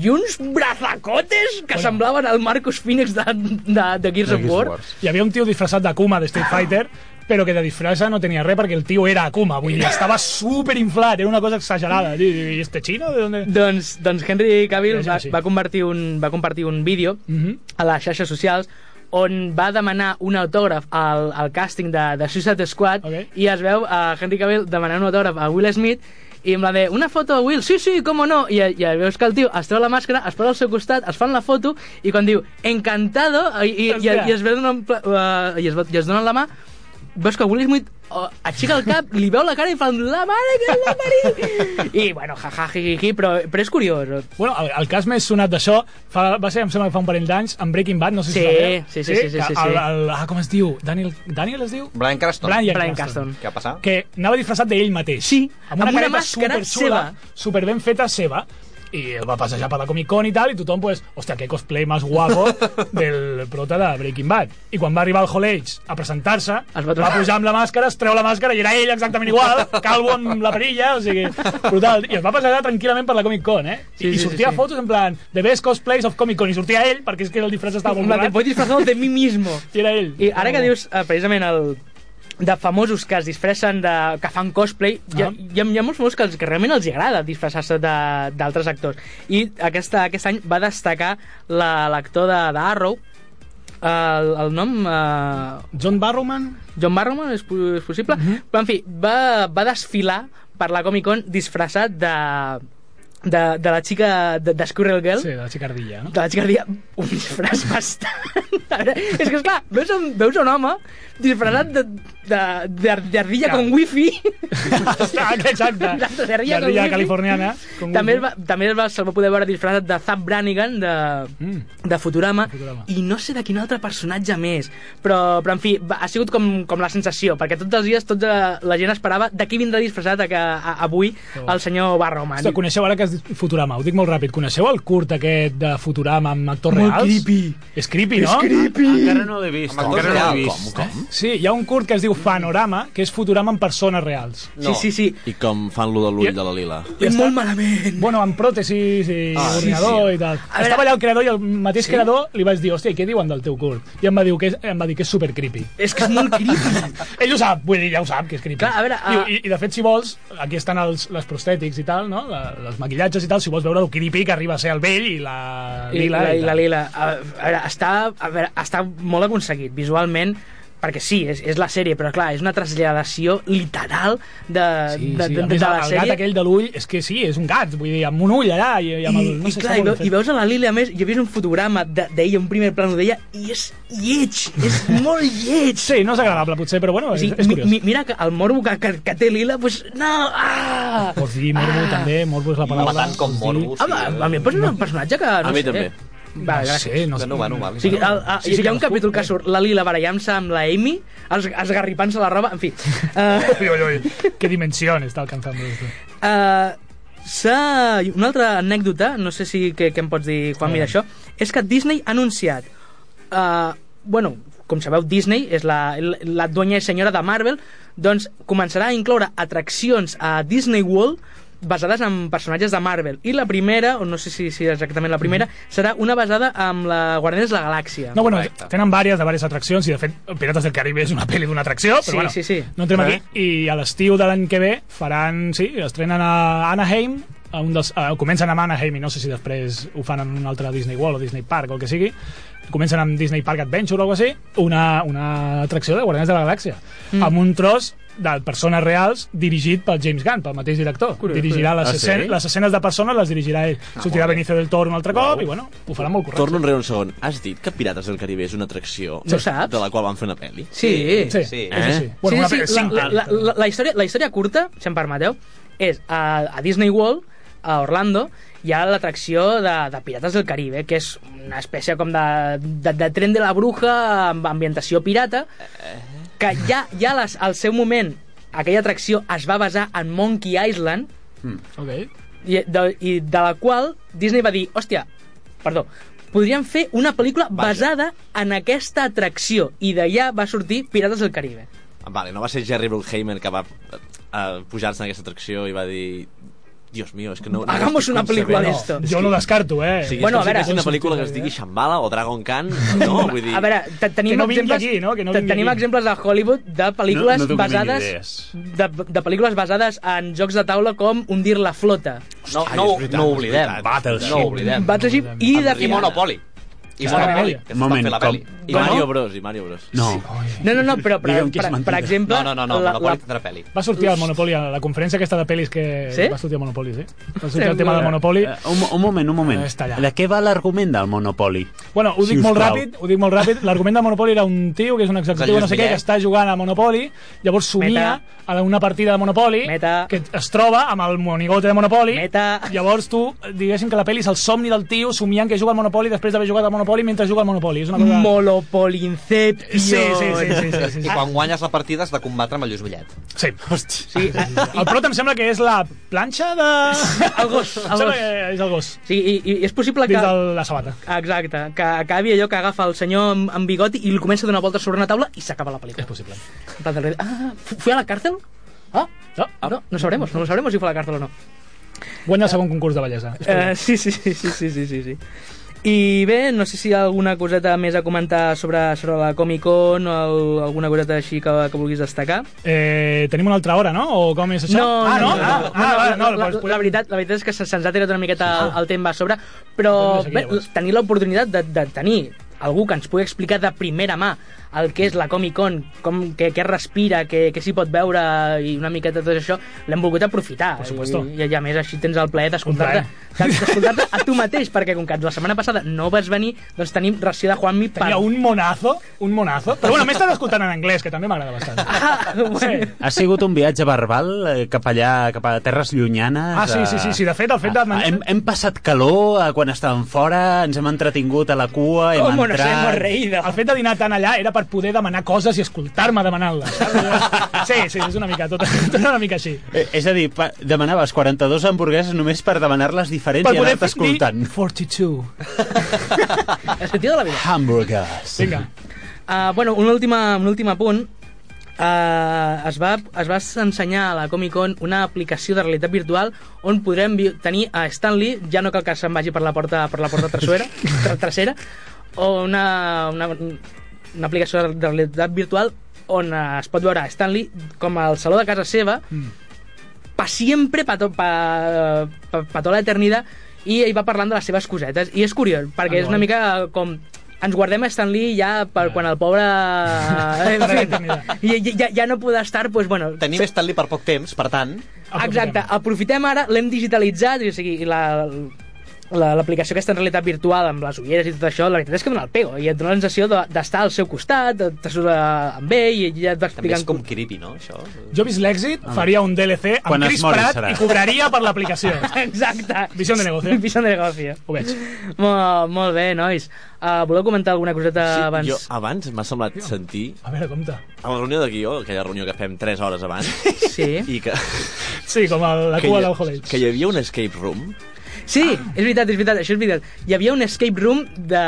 [SPEAKER 3] i uns brazacotes que semblaven el Marcus Phoenix de, de, de Gears of War.
[SPEAKER 4] Hi havia un tio disfressat d'Akuma de Street Fighter, però que de disfressa no tenia res perquè el tio era Akuma, vull dir, estava superinflat, era una cosa exagerada. I, i este chino? De dónde?
[SPEAKER 3] Doncs, doncs Henry Cavill
[SPEAKER 4] Sí, sí,
[SPEAKER 3] va,
[SPEAKER 4] sí.
[SPEAKER 3] va, compartir un, va compartir un vídeo
[SPEAKER 4] Mhm.
[SPEAKER 3] a les xarxes socials on va demanar un autògraf al, al càsting de, de Suicide Squad
[SPEAKER 4] Ok.
[SPEAKER 3] i es veu a Henry Cavill demanant un autògraf a Will Smith i amb la de, una foto a Will, sí, sí, com no i, i veus que el tio es treu la màscara es posa al seu costat, es fan la foto i quan diu, encantado i, i, i,
[SPEAKER 4] Hòstia.
[SPEAKER 3] i, es, veu donant, pla- eh, i, es, ve- i es donen la mà veus que Will Smith eh, aixeca el cap, li veu la cara i fa la mare que la parit i bueno, ja, ja, hi, hi, hi, però, però és curiós
[SPEAKER 4] Bueno, el, el cas més sonat d'això fa- va ser, em sembla, que fa un parell d'anys, en Breaking Bad, no sé si
[SPEAKER 3] Sí,
[SPEAKER 4] sabeu.
[SPEAKER 3] sí, sí, sí, sí,
[SPEAKER 4] que
[SPEAKER 3] sí, sí.
[SPEAKER 4] El, el, ah, com es diu? Daniel, Daniel es diu?
[SPEAKER 5] Brian Cranston.
[SPEAKER 4] Brian,
[SPEAKER 3] Brian
[SPEAKER 4] Cranston.
[SPEAKER 3] Caston
[SPEAKER 5] Què ha passat?
[SPEAKER 4] Que anava disfressat d'ell mateix.
[SPEAKER 3] Sí,
[SPEAKER 4] amb una,
[SPEAKER 3] amb una
[SPEAKER 4] careta
[SPEAKER 3] màscara
[SPEAKER 4] superxula,
[SPEAKER 3] seva.
[SPEAKER 4] super ben feta seva, i el va passejar per la Comic Con i tal, i tothom, pues, hòstia, que cosplay més guapo del prota de Breaking Bad. I quan va arribar al Hall Age a presentar-se,
[SPEAKER 3] Es
[SPEAKER 4] es
[SPEAKER 3] va
[SPEAKER 4] va,
[SPEAKER 3] trobar.
[SPEAKER 4] pujar amb la màscara, es treu la màscara i era ell exactament igual, calvo amb la perilla, o sigui, brutal. I es va passejar tranquil·lament per la Comic Con, eh?
[SPEAKER 3] Sí,
[SPEAKER 4] I, sí,
[SPEAKER 3] sí,
[SPEAKER 4] i
[SPEAKER 3] sí,
[SPEAKER 4] sortia
[SPEAKER 3] sí.
[SPEAKER 4] fotos en plan, the best cosplays of Comic Con, i sortia ell, perquè és que el disfraç estava molt
[SPEAKER 3] me te
[SPEAKER 4] borrat,
[SPEAKER 3] puedes disfrazar de mí mismo
[SPEAKER 4] i era ell.
[SPEAKER 3] I ara que dius, eh, precisament, el de famosos que es disfressen, de, que fan cosplay, hi ha,
[SPEAKER 4] Ah.
[SPEAKER 3] hi ha, hi ha molts famosos que, els, que realment els hi agrada disfressar-se de- d'altres actors. I aquesta, aquest any va destacar la- l'actor la, d'Arrow, el, el nom... Eh,
[SPEAKER 4] John Barrowman?
[SPEAKER 3] John Barrowman, és, po- és possible.
[SPEAKER 4] Mhm.
[SPEAKER 3] Però, en fi, va, va desfilar per la Comic-Con disfressat de, de, de la xica de, de Squirrel Girl.
[SPEAKER 4] Sí, de la xicardilla, no?
[SPEAKER 3] De la xica dia, un disfraç bastant... A veure, és que, esclar, veus un, veus un home disfressat de- de- de- d'ardilla con wifi.
[SPEAKER 4] Exacte.
[SPEAKER 3] Exacte, de
[SPEAKER 4] La
[SPEAKER 3] ardilla
[SPEAKER 4] ardilla
[SPEAKER 3] con wifi.
[SPEAKER 4] californiana. con
[SPEAKER 3] També, es
[SPEAKER 4] wifi.
[SPEAKER 3] va, també es va, se'l va poder veure disfressat de Zap Brannigan, de,
[SPEAKER 4] Mm.
[SPEAKER 3] de Futurama,
[SPEAKER 4] De Futurama.
[SPEAKER 3] i no sé de quin altre personatge més, però, però en fi, va, ha sigut com, com la sensació, perquè tots eh, els dies tota la gent esperava de qui vindrà disfressat a, a, a, avui el senyor Barrowman.
[SPEAKER 4] Hòstia, coneixeu ara que es has dit Futurama, ho dic molt ràpid. Coneixeu el curt aquest de Futurama amb actors
[SPEAKER 7] Molt
[SPEAKER 4] reals?
[SPEAKER 7] creepy.
[SPEAKER 4] És creepy, no?
[SPEAKER 7] Encara no l'he vist.
[SPEAKER 5] Amb actors
[SPEAKER 7] Encara no l'he
[SPEAKER 5] reals,
[SPEAKER 7] vist.
[SPEAKER 6] Com?
[SPEAKER 4] Sí, hi ha un curt que es diu Fanorama, que és Futurama amb persones reals.
[SPEAKER 5] No.
[SPEAKER 3] Sí, sí, sí.
[SPEAKER 6] I com fan lo de l'ull de la lila.
[SPEAKER 4] I està-
[SPEAKER 3] molt malament.
[SPEAKER 4] Bueno, amb pròtesis i ah,
[SPEAKER 6] Ah, sí,
[SPEAKER 4] ordinador sí,
[SPEAKER 6] sí.
[SPEAKER 4] i tal.
[SPEAKER 3] veure-
[SPEAKER 4] Estava allà el creador i el mateix sí? creador li vaig dir, hòstia, què diuen del teu curt? I em va dir que és, em va dir que és super creepy.
[SPEAKER 3] És que és molt creepy.
[SPEAKER 4] Ell ho sap, vull dir, ja ho sap, que és creepy.
[SPEAKER 3] Clar, a veure,
[SPEAKER 4] Diu,
[SPEAKER 3] ah-
[SPEAKER 4] i, I, de fet, si vols, aquí estan els, les prostètics i tal, no? La, els maquillatges i tal, si vols veure el creepy que arriba a ser el vell i la
[SPEAKER 3] I
[SPEAKER 4] lila.
[SPEAKER 3] la, i la
[SPEAKER 4] tal.
[SPEAKER 3] Lila. A, a veure, està, a veure, està molt aconseguit visualment, perquè sí, és, és la sèrie, però clar, és una traslladació literal de,
[SPEAKER 4] Sí,
[SPEAKER 3] de, de,
[SPEAKER 4] sí, a
[SPEAKER 3] de,
[SPEAKER 4] més,
[SPEAKER 3] de la
[SPEAKER 4] el, el gat
[SPEAKER 3] sèrie.
[SPEAKER 4] aquell de l'ull, és que sí, és un gat, vull dir, amb un ull allà i, i amb el...
[SPEAKER 3] I,
[SPEAKER 4] no
[SPEAKER 3] i,
[SPEAKER 4] sé,
[SPEAKER 3] clar,
[SPEAKER 4] està
[SPEAKER 3] i,
[SPEAKER 4] molt
[SPEAKER 3] ve, i
[SPEAKER 4] ben fet.
[SPEAKER 3] veus a la Lili, a més, jo he vist un fotograma de- d'ella, un primer plano d'ella, i és lleig, és molt lleig.
[SPEAKER 4] Sí, no és agradable, potser, però bueno,
[SPEAKER 3] O
[SPEAKER 4] és,
[SPEAKER 3] sigui,
[SPEAKER 4] és
[SPEAKER 3] mi,
[SPEAKER 4] curiós.
[SPEAKER 3] mi, mira que el morbo que, que, que té Lila, pues, no... Ah!
[SPEAKER 4] Pots dir morbo també, morbo és la paraula.
[SPEAKER 5] Home, tant com
[SPEAKER 4] pots dir-
[SPEAKER 5] morbo.
[SPEAKER 3] Home, a mi em posa un personatge que...
[SPEAKER 6] A
[SPEAKER 3] No
[SPEAKER 6] mi
[SPEAKER 3] sé. eh?
[SPEAKER 6] també.
[SPEAKER 3] Vale,
[SPEAKER 4] no
[SPEAKER 3] gràcies.
[SPEAKER 4] sé, no sé.
[SPEAKER 5] Bueno, bueno, vale.
[SPEAKER 3] O sigui, el, el, sí,
[SPEAKER 4] Sí,
[SPEAKER 3] sí, hi ha un
[SPEAKER 4] cadascú,
[SPEAKER 3] capítol que
[SPEAKER 4] eh?
[SPEAKER 3] surt la Lila barallant-se amb la Amy, es, esgarripant-se la roba, en fi. Uh,
[SPEAKER 4] Ui, ui, ui, que dimensión està alcançant esto.
[SPEAKER 3] uh, s'ha- una altra anècdota, no sé si que, que em pots dir, Juan, mira això, és que Disney ha anunciat... Uh, bueno, com sabeu, Disney és la, la duenya i senyora de Marvel, doncs començarà a incloure atraccions a Disney World basades en personatges de Marvel. I la primera, o no sé si, si exactament la primera,
[SPEAKER 4] Mm.
[SPEAKER 3] serà una basada amb la Guardians de la Galàxia.
[SPEAKER 4] No, bueno,
[SPEAKER 5] Correcte.
[SPEAKER 4] tenen vàries de vàries atraccions i de fet Pirates del Caribe és una pel·li d'una atracció, però
[SPEAKER 3] Sí,
[SPEAKER 4] bueno,
[SPEAKER 3] sí, sí.
[SPEAKER 4] no entrem
[SPEAKER 3] Eh?
[SPEAKER 4] aquí. I a l'estiu de l'any que ve faran, sí, estrenen a Anaheim, a un dels, a, comencen amb Anaheim i no sé si després ho fan en un altre Disney World o Disney Park o el que sigui, comencen amb Disney Park Adventure o alguna cosa així, una, una atracció de Guardians de la Galàxia, mm. amb un tros de persones reals dirigit pel James Gunn, pel mateix director. Curiós, dirigirà les,
[SPEAKER 6] Ah, sí?
[SPEAKER 4] escenes, les escenes de persones les dirigirà ell. Ah, Sortirà
[SPEAKER 5] molt bé.
[SPEAKER 4] Benicio del Toro un altre cop i bueno, ho farà molt correcte.
[SPEAKER 6] Torno enrere un segon. Has dit que Pirates del Caribe és una atracció
[SPEAKER 3] No saps?
[SPEAKER 6] de la qual van fer una pel·li?
[SPEAKER 3] Sí.
[SPEAKER 4] Sí,
[SPEAKER 5] Sí.
[SPEAKER 4] sí. És així.
[SPEAKER 6] Eh?
[SPEAKER 4] Bueno, una
[SPEAKER 3] sí,
[SPEAKER 4] pe-
[SPEAKER 3] sí, sí.
[SPEAKER 4] cinc
[SPEAKER 3] La, la,
[SPEAKER 4] parts.
[SPEAKER 3] la, la, història, la història curta, si em permeteu, és a, a Disney World, a Orlando, hi ha l'atracció de, de Pirates del Caribe, que és una espècie com de, de, de tren de la bruja amb ambientació pirata, que ja, ja les, al seu moment aquella atracció es va basar en Monkey Island,
[SPEAKER 4] Ok.
[SPEAKER 3] i de, i de la qual Disney va dir, hòstia, perdó, podríem fer una pel·lícula
[SPEAKER 6] Vaja.
[SPEAKER 3] basada en aquesta atracció, i d'allà va sortir Pirates del Caribe.
[SPEAKER 6] Vale, no va ser Jerry Bruckheimer que va eh, pujar-se en aquesta atracció i va dir... Dios mío, és que no... no
[SPEAKER 3] Hagamos
[SPEAKER 6] estic
[SPEAKER 3] una película
[SPEAKER 6] concebent".
[SPEAKER 3] de esto.
[SPEAKER 6] És
[SPEAKER 4] Jo
[SPEAKER 6] que-
[SPEAKER 4] no ho descarto, eh?
[SPEAKER 6] O sigui,
[SPEAKER 3] Bueno,
[SPEAKER 6] bueno, és com
[SPEAKER 3] a veure-
[SPEAKER 6] si fes una pel·lícula que es digui Shambhala o Dragon Khan, no? Vull dir...
[SPEAKER 3] A veure, te- tenim
[SPEAKER 4] Que no vingui
[SPEAKER 3] exemples,
[SPEAKER 4] aquí, no? Que no
[SPEAKER 3] te-
[SPEAKER 4] vingui
[SPEAKER 3] tenim
[SPEAKER 4] aquí.
[SPEAKER 3] exemples a Hollywood de pel·lícules
[SPEAKER 7] No- no tinc ni
[SPEAKER 3] basades
[SPEAKER 7] idees.
[SPEAKER 3] de, de pel·lícules basades en jocs de taula com Hundir la flota,
[SPEAKER 5] No,
[SPEAKER 6] Ai,
[SPEAKER 5] no,
[SPEAKER 6] és veritat,
[SPEAKER 5] no
[SPEAKER 6] és
[SPEAKER 5] oblidem.
[SPEAKER 6] veritat.
[SPEAKER 7] Battleship.
[SPEAKER 5] No oblidem.
[SPEAKER 3] Battleship i de
[SPEAKER 5] I Monopoly. I
[SPEAKER 4] Està
[SPEAKER 5] Monopoly,
[SPEAKER 4] bé.
[SPEAKER 5] que es va
[SPEAKER 7] Moment,
[SPEAKER 5] fer la
[SPEAKER 7] com-
[SPEAKER 5] pel·li.
[SPEAKER 6] I
[SPEAKER 3] Bueno.
[SPEAKER 6] Mario Bros, i Mario Bros.
[SPEAKER 7] No.
[SPEAKER 3] No, no, no, però per,
[SPEAKER 7] Digue'm que és
[SPEAKER 3] per, per
[SPEAKER 7] mentida.
[SPEAKER 3] exemple...
[SPEAKER 5] No, no, no, no
[SPEAKER 3] la-
[SPEAKER 5] Monopoly
[SPEAKER 3] la-
[SPEAKER 5] tindrà pel·li.
[SPEAKER 4] Va sortir el Monopoly a la conferència aquesta de pel·lis que
[SPEAKER 3] Sí?
[SPEAKER 4] va sortir el Monopoly, sí. Va sortir el tema del Monopoly.
[SPEAKER 7] Eh, un, un moment, un moment.
[SPEAKER 4] Eh, està allà.
[SPEAKER 7] De què va l'argument del Monopoly?
[SPEAKER 4] Bueno, ho
[SPEAKER 7] Si
[SPEAKER 4] dic
[SPEAKER 7] us
[SPEAKER 4] molt
[SPEAKER 7] plau.
[SPEAKER 4] ràpid, ho dic molt ràpid. L'argument del Monopoly era un tio que és un executiu,
[SPEAKER 5] Lluís
[SPEAKER 4] no sé què,
[SPEAKER 5] Millet.
[SPEAKER 4] que està jugant a Monopoly, llavors somia
[SPEAKER 3] Meta.
[SPEAKER 4] a una partida de Monopoly
[SPEAKER 3] Meta.
[SPEAKER 4] que es troba amb el monigote de Monopoly.
[SPEAKER 3] Meta.
[SPEAKER 4] Llavors tu, diguéssim que la pel·li és el somni del tio somiant que juga al Monopoly després d'haver jugat al Monopoly mentre juga al Monopoly. És una cosa...
[SPEAKER 3] Molopolinception.
[SPEAKER 4] Sí, sí, sí, sí, sí, sí,
[SPEAKER 5] I
[SPEAKER 4] sí.
[SPEAKER 3] Ah,
[SPEAKER 5] quan guanyes la partida has de combatre amb el Lluís Millet.
[SPEAKER 4] Sí. Hosti. Sí. El prot em sembla que és la planxa de...
[SPEAKER 3] eh, El gos, el
[SPEAKER 4] Em sembla
[SPEAKER 3] gos.
[SPEAKER 4] que és el gos.
[SPEAKER 3] Sí, i, i és possible que...
[SPEAKER 4] Dins de la sabata.
[SPEAKER 3] Exacte, que acabi allò que agafa el senyor amb, amb bigoti i li comença a donar voltes sobre una taula i s'acaba la pel·lícula.
[SPEAKER 4] És possible.
[SPEAKER 3] En plan del- Ah, fu- fui a la cárcel? Ah,
[SPEAKER 4] No,
[SPEAKER 3] no, no sabremos, no lo sabremos si fue a la cárcel o no.
[SPEAKER 4] guanya el segon concurs de bellesa.
[SPEAKER 3] Eh, sí, sí, sí, sí, sí, sí, sí, sí. I bé, no sé si hi ha alguna coseta més a comentar sobre, sobre la Comic-Con o el, alguna coseta així que, que vulguis destacar.
[SPEAKER 4] Eh, tenim una altra hora, no? O com és això? ah, no? Ah, ah, vale, no,
[SPEAKER 3] la, la,
[SPEAKER 4] doncs
[SPEAKER 3] la,
[SPEAKER 4] podem-
[SPEAKER 3] veritat, la veritat és que se- se'ns ha tirat una miqueta el, el temps a sobre, però
[SPEAKER 4] Doncs aquí,
[SPEAKER 3] bé,
[SPEAKER 4] llavors.
[SPEAKER 3] tenir l'oportunitat de, de tenir algú que ens pugui explicar de primera mà el que és la Comic-Con, com- què què respira, què què s'hi pot veure i una miqueta tot això, l'hem volgut aprofitar.
[SPEAKER 4] Per supuesto.
[SPEAKER 3] I, i a més així tens el plaer d'escoltar-te d'escoltar-te a tu mateix, perquè com que la setmana passada no vas venir, doncs tenim ració de Juanmi per...
[SPEAKER 4] Tenia un monazo, un monazo. Però bueno, m'he estat escoltant en anglès, que també m'agrada bastant.
[SPEAKER 3] Ah, bueno.
[SPEAKER 7] Ha sigut un viatge verbal eh, cap allà, cap a terres llunyanes.
[SPEAKER 4] Ah, sí, sí, sí, sí, de fet, el fet de-
[SPEAKER 7] a- a- Hem, hem passat calor eh, quan estàvem fora, ens hem entretingut a la cua, hem
[SPEAKER 3] ¿Cómo nos
[SPEAKER 7] entrat...
[SPEAKER 3] hemos reído?
[SPEAKER 4] El fet de dinar tant allà era per per poder demanar coses i escoltar-me demanant-les. saps? Sí, sí, és una mica, tot, tot una mica així.
[SPEAKER 7] Eh, És a dir, pa, demanaves 42 hamburgueses només per demanar-les diferents i anar-te
[SPEAKER 4] fer- dir
[SPEAKER 7] escoltant.
[SPEAKER 4] 42.
[SPEAKER 3] El sentit de la vida.
[SPEAKER 7] Hamburgers.
[SPEAKER 4] Vinga.
[SPEAKER 3] Uh, bueno, un últim, un últim apunt. Uh, es, va, es va ensenyar a la Comic Con una aplicació de realitat virtual on podrem vi- tenir a Stan Lee, ja no cal que se'n vagi per la porta, per la porta trasera, tra trasera o una, una, una aplicació de realitat virtual on eh, es pot veure a Stan Lee com al saló de casa seva pa sempre, pa, to, pa, pa, pa tota l'eternida, i ell va parlant de les seves cosetes. I és curiós, perquè és una mica com ens guardem a Stan Lee ja per quan el pobre... En fi, ja, ja, ja no podrà estar, doncs, bueno...
[SPEAKER 5] Tenim Stanley per poc temps, per tant...
[SPEAKER 3] Exacte, aprofitem ara, l'hem digitalitzat, i o sigui, la, la- l'aplicació aquesta en realitat virtual amb les ulleres i tot això, la veritat és que dona el pego i et dona la sensació de- d'estar al seu costat de- te surt eh, amb ell i ja et va
[SPEAKER 5] També
[SPEAKER 3] explicant
[SPEAKER 5] és com creepy, no, això?
[SPEAKER 4] Jo vist l'èxit, faria un DLC amb
[SPEAKER 7] Quan es
[SPEAKER 4] Chris
[SPEAKER 7] mori,
[SPEAKER 4] Pratt
[SPEAKER 7] serà.
[SPEAKER 4] i cobraria per l'aplicació.
[SPEAKER 3] Exacte.
[SPEAKER 4] Visión de negocio.
[SPEAKER 3] Visión de negocio.
[SPEAKER 4] Ho veig.
[SPEAKER 3] Molt, molt bé, nois. Uh, voleu comentar alguna coseta
[SPEAKER 6] Sí,
[SPEAKER 3] abans?
[SPEAKER 6] Jo abans m'ha semblat sentir
[SPEAKER 4] A veure, compte.
[SPEAKER 6] a la reunió de guió, aquella reunió que fem 3 hores abans,
[SPEAKER 3] Sí.
[SPEAKER 6] i que,
[SPEAKER 4] Sí, com a la
[SPEAKER 6] que,
[SPEAKER 4] cua del
[SPEAKER 6] hi,
[SPEAKER 4] Hollywood.
[SPEAKER 6] que hi havia un escape room
[SPEAKER 3] Sí, és veritat, és veritat, això és veritat. Hi havia un escape room de...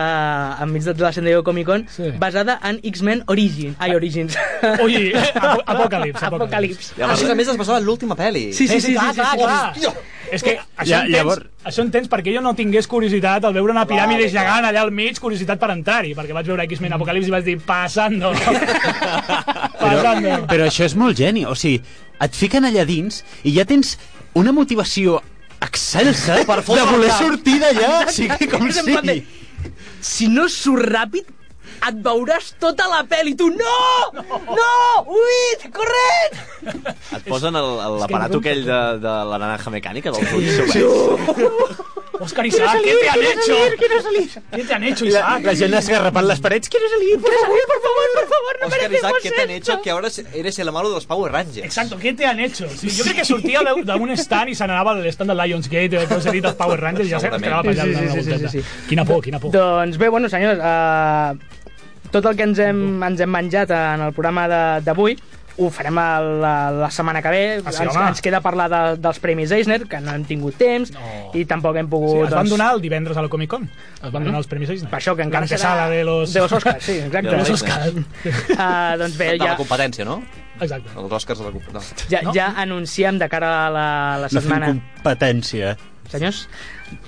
[SPEAKER 3] enmig de la San Diego Comic Con
[SPEAKER 4] Sí. Ah.
[SPEAKER 3] basada en X-Men Origin. Ai, Origins.
[SPEAKER 4] Ui, apo- Apocalips.
[SPEAKER 3] Apocalips.
[SPEAKER 5] Ah, sí, a més, es basava en l'última pel·li.
[SPEAKER 3] Sí, sí, sí, sí,
[SPEAKER 4] clar,
[SPEAKER 3] sí, sí,
[SPEAKER 4] clar, clar. És que això, ja, entens,
[SPEAKER 7] llavors-
[SPEAKER 4] això entens perquè jo no tingués curiositat al veure una piràmide gegant allà al mig, curiositat per entrar-hi, perquè vaig veure X-Men Apocalips i vaig dir, passando. passando.
[SPEAKER 7] Però, però això és molt geni. O sigui, et fiquen allà dins i ja tens una motivació excelsa per de voler sortir d'allà, sigui com
[SPEAKER 3] És en plan
[SPEAKER 7] sigui.
[SPEAKER 3] de, Si no surt ràpid, et veuràs tota la pel·li. Tu, no! No! no! Uit, corrent!
[SPEAKER 6] et posen el- el-
[SPEAKER 4] no
[SPEAKER 6] l'aparato
[SPEAKER 4] compta.
[SPEAKER 6] aquell de, de la naranja mecànica del eh? sí. sí.
[SPEAKER 4] Òscar Isaac, què te han hecho? Què te han hecho,
[SPEAKER 7] La,
[SPEAKER 4] Isaac?
[SPEAKER 7] la gent esgarrapant les parets. Quiero salir, por favor, por favor, por favor. No
[SPEAKER 5] Oscar Isaac, ¿qué te han hecho? Que ahora eres el malo de los Power Rangers.
[SPEAKER 4] Exacto, què te han hecho? Sí, jo crec que sortia d'un- d'un stand i se n'anava a l'stand de Lionsgate, o com s'ha dit, els Power Rangers, i ja
[SPEAKER 5] Segurament.
[SPEAKER 4] s'acabava penjant
[SPEAKER 3] Sí, sí,
[SPEAKER 4] una
[SPEAKER 3] sí, sí,
[SPEAKER 4] volteta.
[SPEAKER 3] sí, sí.
[SPEAKER 4] Quina por, quina por.
[SPEAKER 3] Doncs bé, bueno, senyors, uh, tot el que ens hem, ens hem menjat en el programa de- d'avui ho farem a la, la setmana que ve.
[SPEAKER 4] Ah, sí,
[SPEAKER 3] ens,
[SPEAKER 4] home.
[SPEAKER 3] ens queda parlar de, dels Premis Eisner, que no hem tingut temps
[SPEAKER 4] No.
[SPEAKER 3] i tampoc hem pogut...
[SPEAKER 4] Sí, es van
[SPEAKER 3] doncs,
[SPEAKER 4] donar el divendres a la Comic Con. Es van donar els premis Eisner.
[SPEAKER 3] Per Ah, això, que encara
[SPEAKER 4] L'antesala de los...
[SPEAKER 3] De los Oscars, sí,
[SPEAKER 6] De
[SPEAKER 3] exacte.
[SPEAKER 6] los
[SPEAKER 4] Oscars.
[SPEAKER 3] Uh, doncs bé,
[SPEAKER 5] De la
[SPEAKER 3] ja,
[SPEAKER 5] competència, no?
[SPEAKER 4] Exacte.
[SPEAKER 5] Els Oscars de la competència.
[SPEAKER 3] ja,
[SPEAKER 4] no?
[SPEAKER 3] ja anunciem de cara a la, la
[SPEAKER 7] No fem
[SPEAKER 3] setmana...
[SPEAKER 7] competència.
[SPEAKER 3] Senyors,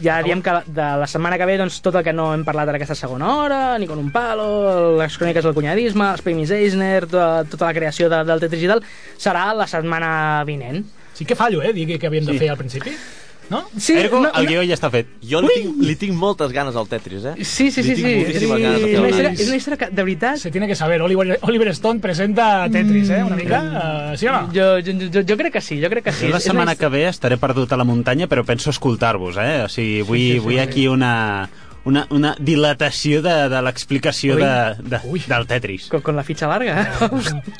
[SPEAKER 3] ja diem que la- de la setmana que ve doncs, tot el que no hem parlat en aquesta segona hora, ni con un palo, les cròniques del cunyadisme, els premis Eisner, to, tota la creació de, del Tetris i tal, serà la setmana vinent.
[SPEAKER 4] Sí que fallo, eh, dir que, que havíem de fer al principi. No?
[SPEAKER 3] Sí,
[SPEAKER 7] Ergo, el guió ja està fet.
[SPEAKER 6] Jo li tinc, li tinc moltes ganes al Tetris, eh?
[SPEAKER 3] Sí, sí, sí.
[SPEAKER 6] Li
[SPEAKER 3] sí.
[SPEAKER 6] tinc moltíssimes ganes de
[SPEAKER 3] És
[SPEAKER 6] fer
[SPEAKER 3] una
[SPEAKER 6] un
[SPEAKER 3] història,
[SPEAKER 6] anàlisi.
[SPEAKER 3] és una història que, de veritat,
[SPEAKER 4] Se tiene que saber. Oliver, Oliver Stone presenta Tetris, eh, una mica.
[SPEAKER 3] Mm.
[SPEAKER 4] Uh, sí o no?
[SPEAKER 3] jo, jo, jo, jo crec que sí, jo crec que sí.
[SPEAKER 7] Jo la
[SPEAKER 3] És una
[SPEAKER 7] setmana que ve estaré perdut a la muntanya, però penso escoltar-vos, eh? O sigui, vull, sí, sí, vull aquí una, una, una dilatació de, de l'explicació
[SPEAKER 3] Ui.
[SPEAKER 7] de, de, del Tetris.
[SPEAKER 3] Con, con la fitxa larga.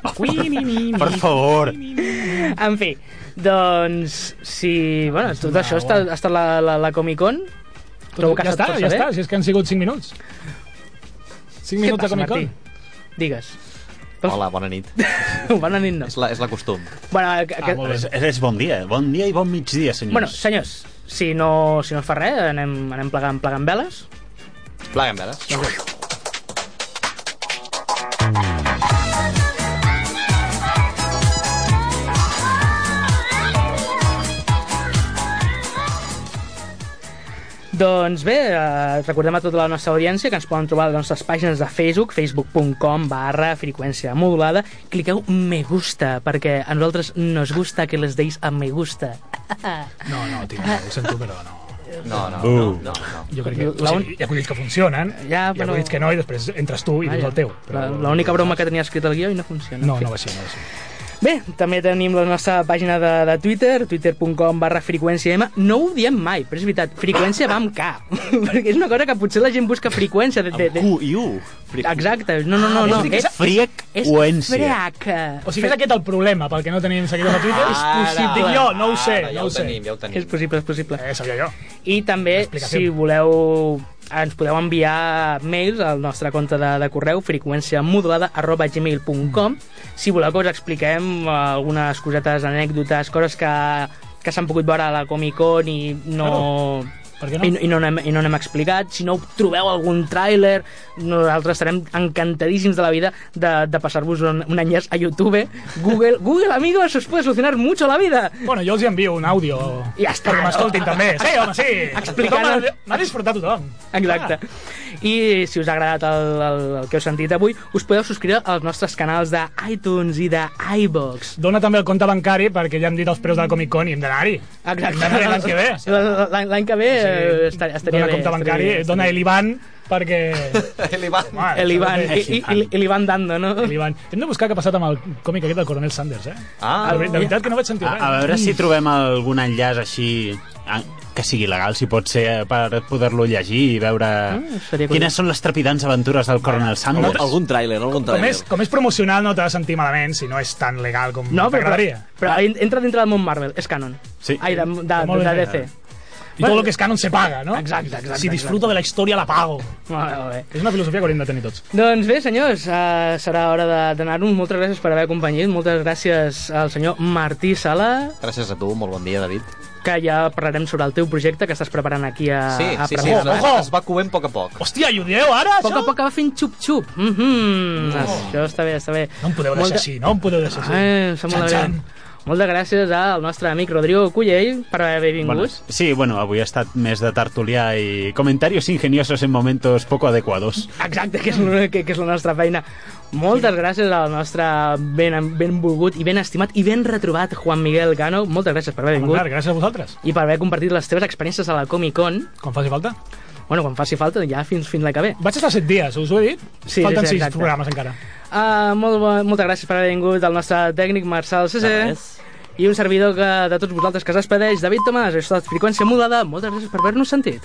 [SPEAKER 7] Per favor.
[SPEAKER 3] en fi, doncs, si... Bueno, tot això està, ha estat la, la, la Comic-Con. Trobo que
[SPEAKER 4] Doncs
[SPEAKER 3] ha
[SPEAKER 4] ja està,
[SPEAKER 3] estat tot
[SPEAKER 4] ja
[SPEAKER 3] saber.
[SPEAKER 4] està. Si és que han sigut 5 minuts. 5
[SPEAKER 3] Què
[SPEAKER 4] minuts de
[SPEAKER 3] passa,
[SPEAKER 4] Comic Con.
[SPEAKER 3] Martí? Digues.
[SPEAKER 5] Hola, bona nit.
[SPEAKER 3] Bona nit, no.
[SPEAKER 5] És la, és la costum.
[SPEAKER 3] Bueno, que, que...
[SPEAKER 4] Ah, molt bé.
[SPEAKER 7] És, és- és bon dia, bon dia i bon migdia, senyors.
[SPEAKER 3] bueno, senyors, si no, si no es fa res, anem, anem plegant, plegant veles.
[SPEAKER 5] Plaguen, veres.
[SPEAKER 3] Doncs bé, eh, recordem a tota la nostra audiència que ens poden trobar a les nostres pàgines de Facebook, facebook.com barra freqüència modulada. Cliqueu me gusta, perquè a nosaltres nos gusta que les deis a me gusta.
[SPEAKER 4] No, no, tio, no, ho sento, però no.
[SPEAKER 5] No, no, no, no, no.
[SPEAKER 4] Jo crec que...
[SPEAKER 3] La
[SPEAKER 4] O sigui, hi ha acudits que funcionen,
[SPEAKER 3] Ja,
[SPEAKER 4] hi ha
[SPEAKER 3] però-
[SPEAKER 4] acudits que no, i després entres tu i dius el teu.
[SPEAKER 3] La- L'única broma que tenia escrit al guió i no funciona.
[SPEAKER 4] No,
[SPEAKER 3] En fi.
[SPEAKER 4] no va ser, no va ser.
[SPEAKER 3] Bé, també tenim la nostra pàgina de, de Twitter, twitter.com barra freqüència M. No ho diem mai, però és veritat, freqüència va amb K. perquè és una cosa que potser la gent busca freqüència. De, de, de...
[SPEAKER 6] Q i U. Fric.
[SPEAKER 3] Exacte, no, no, no. no. Ah, És,
[SPEAKER 7] Friec
[SPEAKER 3] és
[SPEAKER 7] Oència.
[SPEAKER 3] frac.
[SPEAKER 4] O sigui, és aquest el problema, pel que no tenim seguidors a Twitter.
[SPEAKER 5] Ah,
[SPEAKER 3] És possible.
[SPEAKER 4] Dic jo, no ho sé,
[SPEAKER 5] Ara, Ah, ja
[SPEAKER 4] no ho
[SPEAKER 5] ho
[SPEAKER 4] sé.
[SPEAKER 5] tenim, ja ho tenim.
[SPEAKER 3] És possible, és possible.
[SPEAKER 4] Eh, sabia jo.
[SPEAKER 3] I també,
[SPEAKER 4] Explicació.
[SPEAKER 3] si voleu ens podeu enviar mails al nostre compte de, de correu freqüenciamodulada arroba gmail.com si voleu que us expliquem eh, algunes cosetes, anècdotes, coses que, que s'han pogut veure a la Comic Con i no... Claro.
[SPEAKER 4] Per què
[SPEAKER 3] I,
[SPEAKER 4] no?
[SPEAKER 3] i, no n'hem, I no n'hem explicat. Si no trobeu algun tràiler, nosaltres estarem encantadíssims de la vida de, de passar-vos un, un enllaç a YouTube. Google, Google, amigos, os puede solucionar mucho la vida.
[SPEAKER 4] Bueno, jo els hi envio un àudio.
[SPEAKER 3] Ja està,
[SPEAKER 4] Perquè
[SPEAKER 3] no?
[SPEAKER 4] m'escoltin també. Sí, home, sí.
[SPEAKER 3] Explicant-
[SPEAKER 4] Tothom ha- M'ha disfrutat tothom.
[SPEAKER 3] Exacte. I si us ha agradat el, el, el que heu sentit avui, us podeu subscriure als nostres canals de iTunes i de iVox.
[SPEAKER 4] Dona també el compte bancari perquè ja hem dit els preus de la Comic Con i hem d'anar-hi. Hem
[SPEAKER 3] Exacte.
[SPEAKER 4] d'anar-hi l'any que ve.
[SPEAKER 3] L'any- L'any que ve eh,
[SPEAKER 4] Sí.
[SPEAKER 3] estaria, estaria
[SPEAKER 4] dona
[SPEAKER 3] bé.
[SPEAKER 4] compte
[SPEAKER 3] estaria
[SPEAKER 4] bancari, eh,
[SPEAKER 3] bé,
[SPEAKER 4] dona
[SPEAKER 3] estaria bé.
[SPEAKER 4] l'Ivan perquè...
[SPEAKER 5] Li va...
[SPEAKER 4] Mare,
[SPEAKER 3] L'Ivan.
[SPEAKER 4] això
[SPEAKER 3] I, i, i l'Ivan Dando, no?
[SPEAKER 4] L'Ivan. Hem de buscar què ha passat amb el còmic aquest del Coronel Sanders, eh?
[SPEAKER 5] Ah,
[SPEAKER 4] de, ver- de veritat que no vaig sentir
[SPEAKER 7] A, a
[SPEAKER 4] res. Mm.
[SPEAKER 7] veure si trobem algun enllaç així a- que sigui legal, si pot ser, eh, per poder-lo llegir i veure
[SPEAKER 3] seria curiós.
[SPEAKER 7] quines són les trepidants aventures del Coronel
[SPEAKER 6] Algun,
[SPEAKER 7] Sanders.
[SPEAKER 6] algun tràiler, algun
[SPEAKER 4] Com
[SPEAKER 6] tràiler.
[SPEAKER 4] és, com és promocional no t'ha de sentir malament si no és tan legal com
[SPEAKER 3] No, però, però,
[SPEAKER 4] t'agradaria.
[SPEAKER 3] però en- entra dintre del món Marvel, és canon.
[SPEAKER 7] Sí.
[SPEAKER 3] Ai, de, de,
[SPEAKER 4] Ah. Molt
[SPEAKER 3] de,
[SPEAKER 4] bé.
[SPEAKER 3] de DC.
[SPEAKER 4] I tot el que és canon se paga, no?
[SPEAKER 3] Exacte, exacte,
[SPEAKER 4] Si disfruto
[SPEAKER 3] exacte.
[SPEAKER 4] de la història la pago.
[SPEAKER 3] Molt bé, molt bé.
[SPEAKER 4] És una filosofia que hauríem de tenir tots.
[SPEAKER 3] Doncs bé, senyors, uh, serà hora de- d'anar-nos. Moltes gràcies per haver acompanyat. Moltes gràcies al senyor Martí Sala,
[SPEAKER 5] Gràcies a tu, molt bon dia, David.
[SPEAKER 3] que ja parlarem sobre el teu projecte que estàs preparant aquí a,
[SPEAKER 5] Sí,
[SPEAKER 3] a
[SPEAKER 5] sí, sí,
[SPEAKER 3] Premià.
[SPEAKER 5] es, va-
[SPEAKER 4] Ah, Ojo!
[SPEAKER 5] es va coent a poc a poc.
[SPEAKER 4] Hòstia, i ho dieu ara,
[SPEAKER 3] A poc
[SPEAKER 4] això?
[SPEAKER 3] a poc va fent xup-xup. Mm -hmm. Això està bé, està bé.
[SPEAKER 4] No em podeu deixar
[SPEAKER 3] Molta-
[SPEAKER 4] així, no em podeu deixar així. Doncs
[SPEAKER 3] Ah, em sembla
[SPEAKER 4] Xan,
[SPEAKER 3] bé.
[SPEAKER 4] xan.
[SPEAKER 3] Moltes gràcies al nostre amic Rodrigo Cullell per haver vingut.
[SPEAKER 7] Bueno, sí, bueno, avui ha estat més de tertulià i comentarios ingeniosos en momentos poco adecuados.
[SPEAKER 3] Exacte, que és, la- que, que és la nostra feina. Moltes gràcies al nostre ben, ben volgut i ben estimat i ben retrobat Juan Miguel Gano. Moltes gràcies per haver vingut
[SPEAKER 4] Clar, gràcies a vosaltres.
[SPEAKER 3] i per haver compartit les teves experiències a la Comic-Con.
[SPEAKER 4] Quan faci falta.
[SPEAKER 3] Bueno, quan faci falta, ja fins, fins la que ve.
[SPEAKER 4] Vaig estar 7 dies, us ho he dit?
[SPEAKER 3] Sí,
[SPEAKER 4] Falten
[SPEAKER 3] sí, sí,
[SPEAKER 4] 6
[SPEAKER 3] exacte.
[SPEAKER 4] programes encara.
[SPEAKER 3] Uh, molt, bo- moltes gràcies per haver vingut al nostre tècnic Marçal CC. I un servidor que, de tots vosaltres que es despedeix, David Tomàs, això ha estat Freqüència Modulada. Moltes gràcies per haver-nos sentit.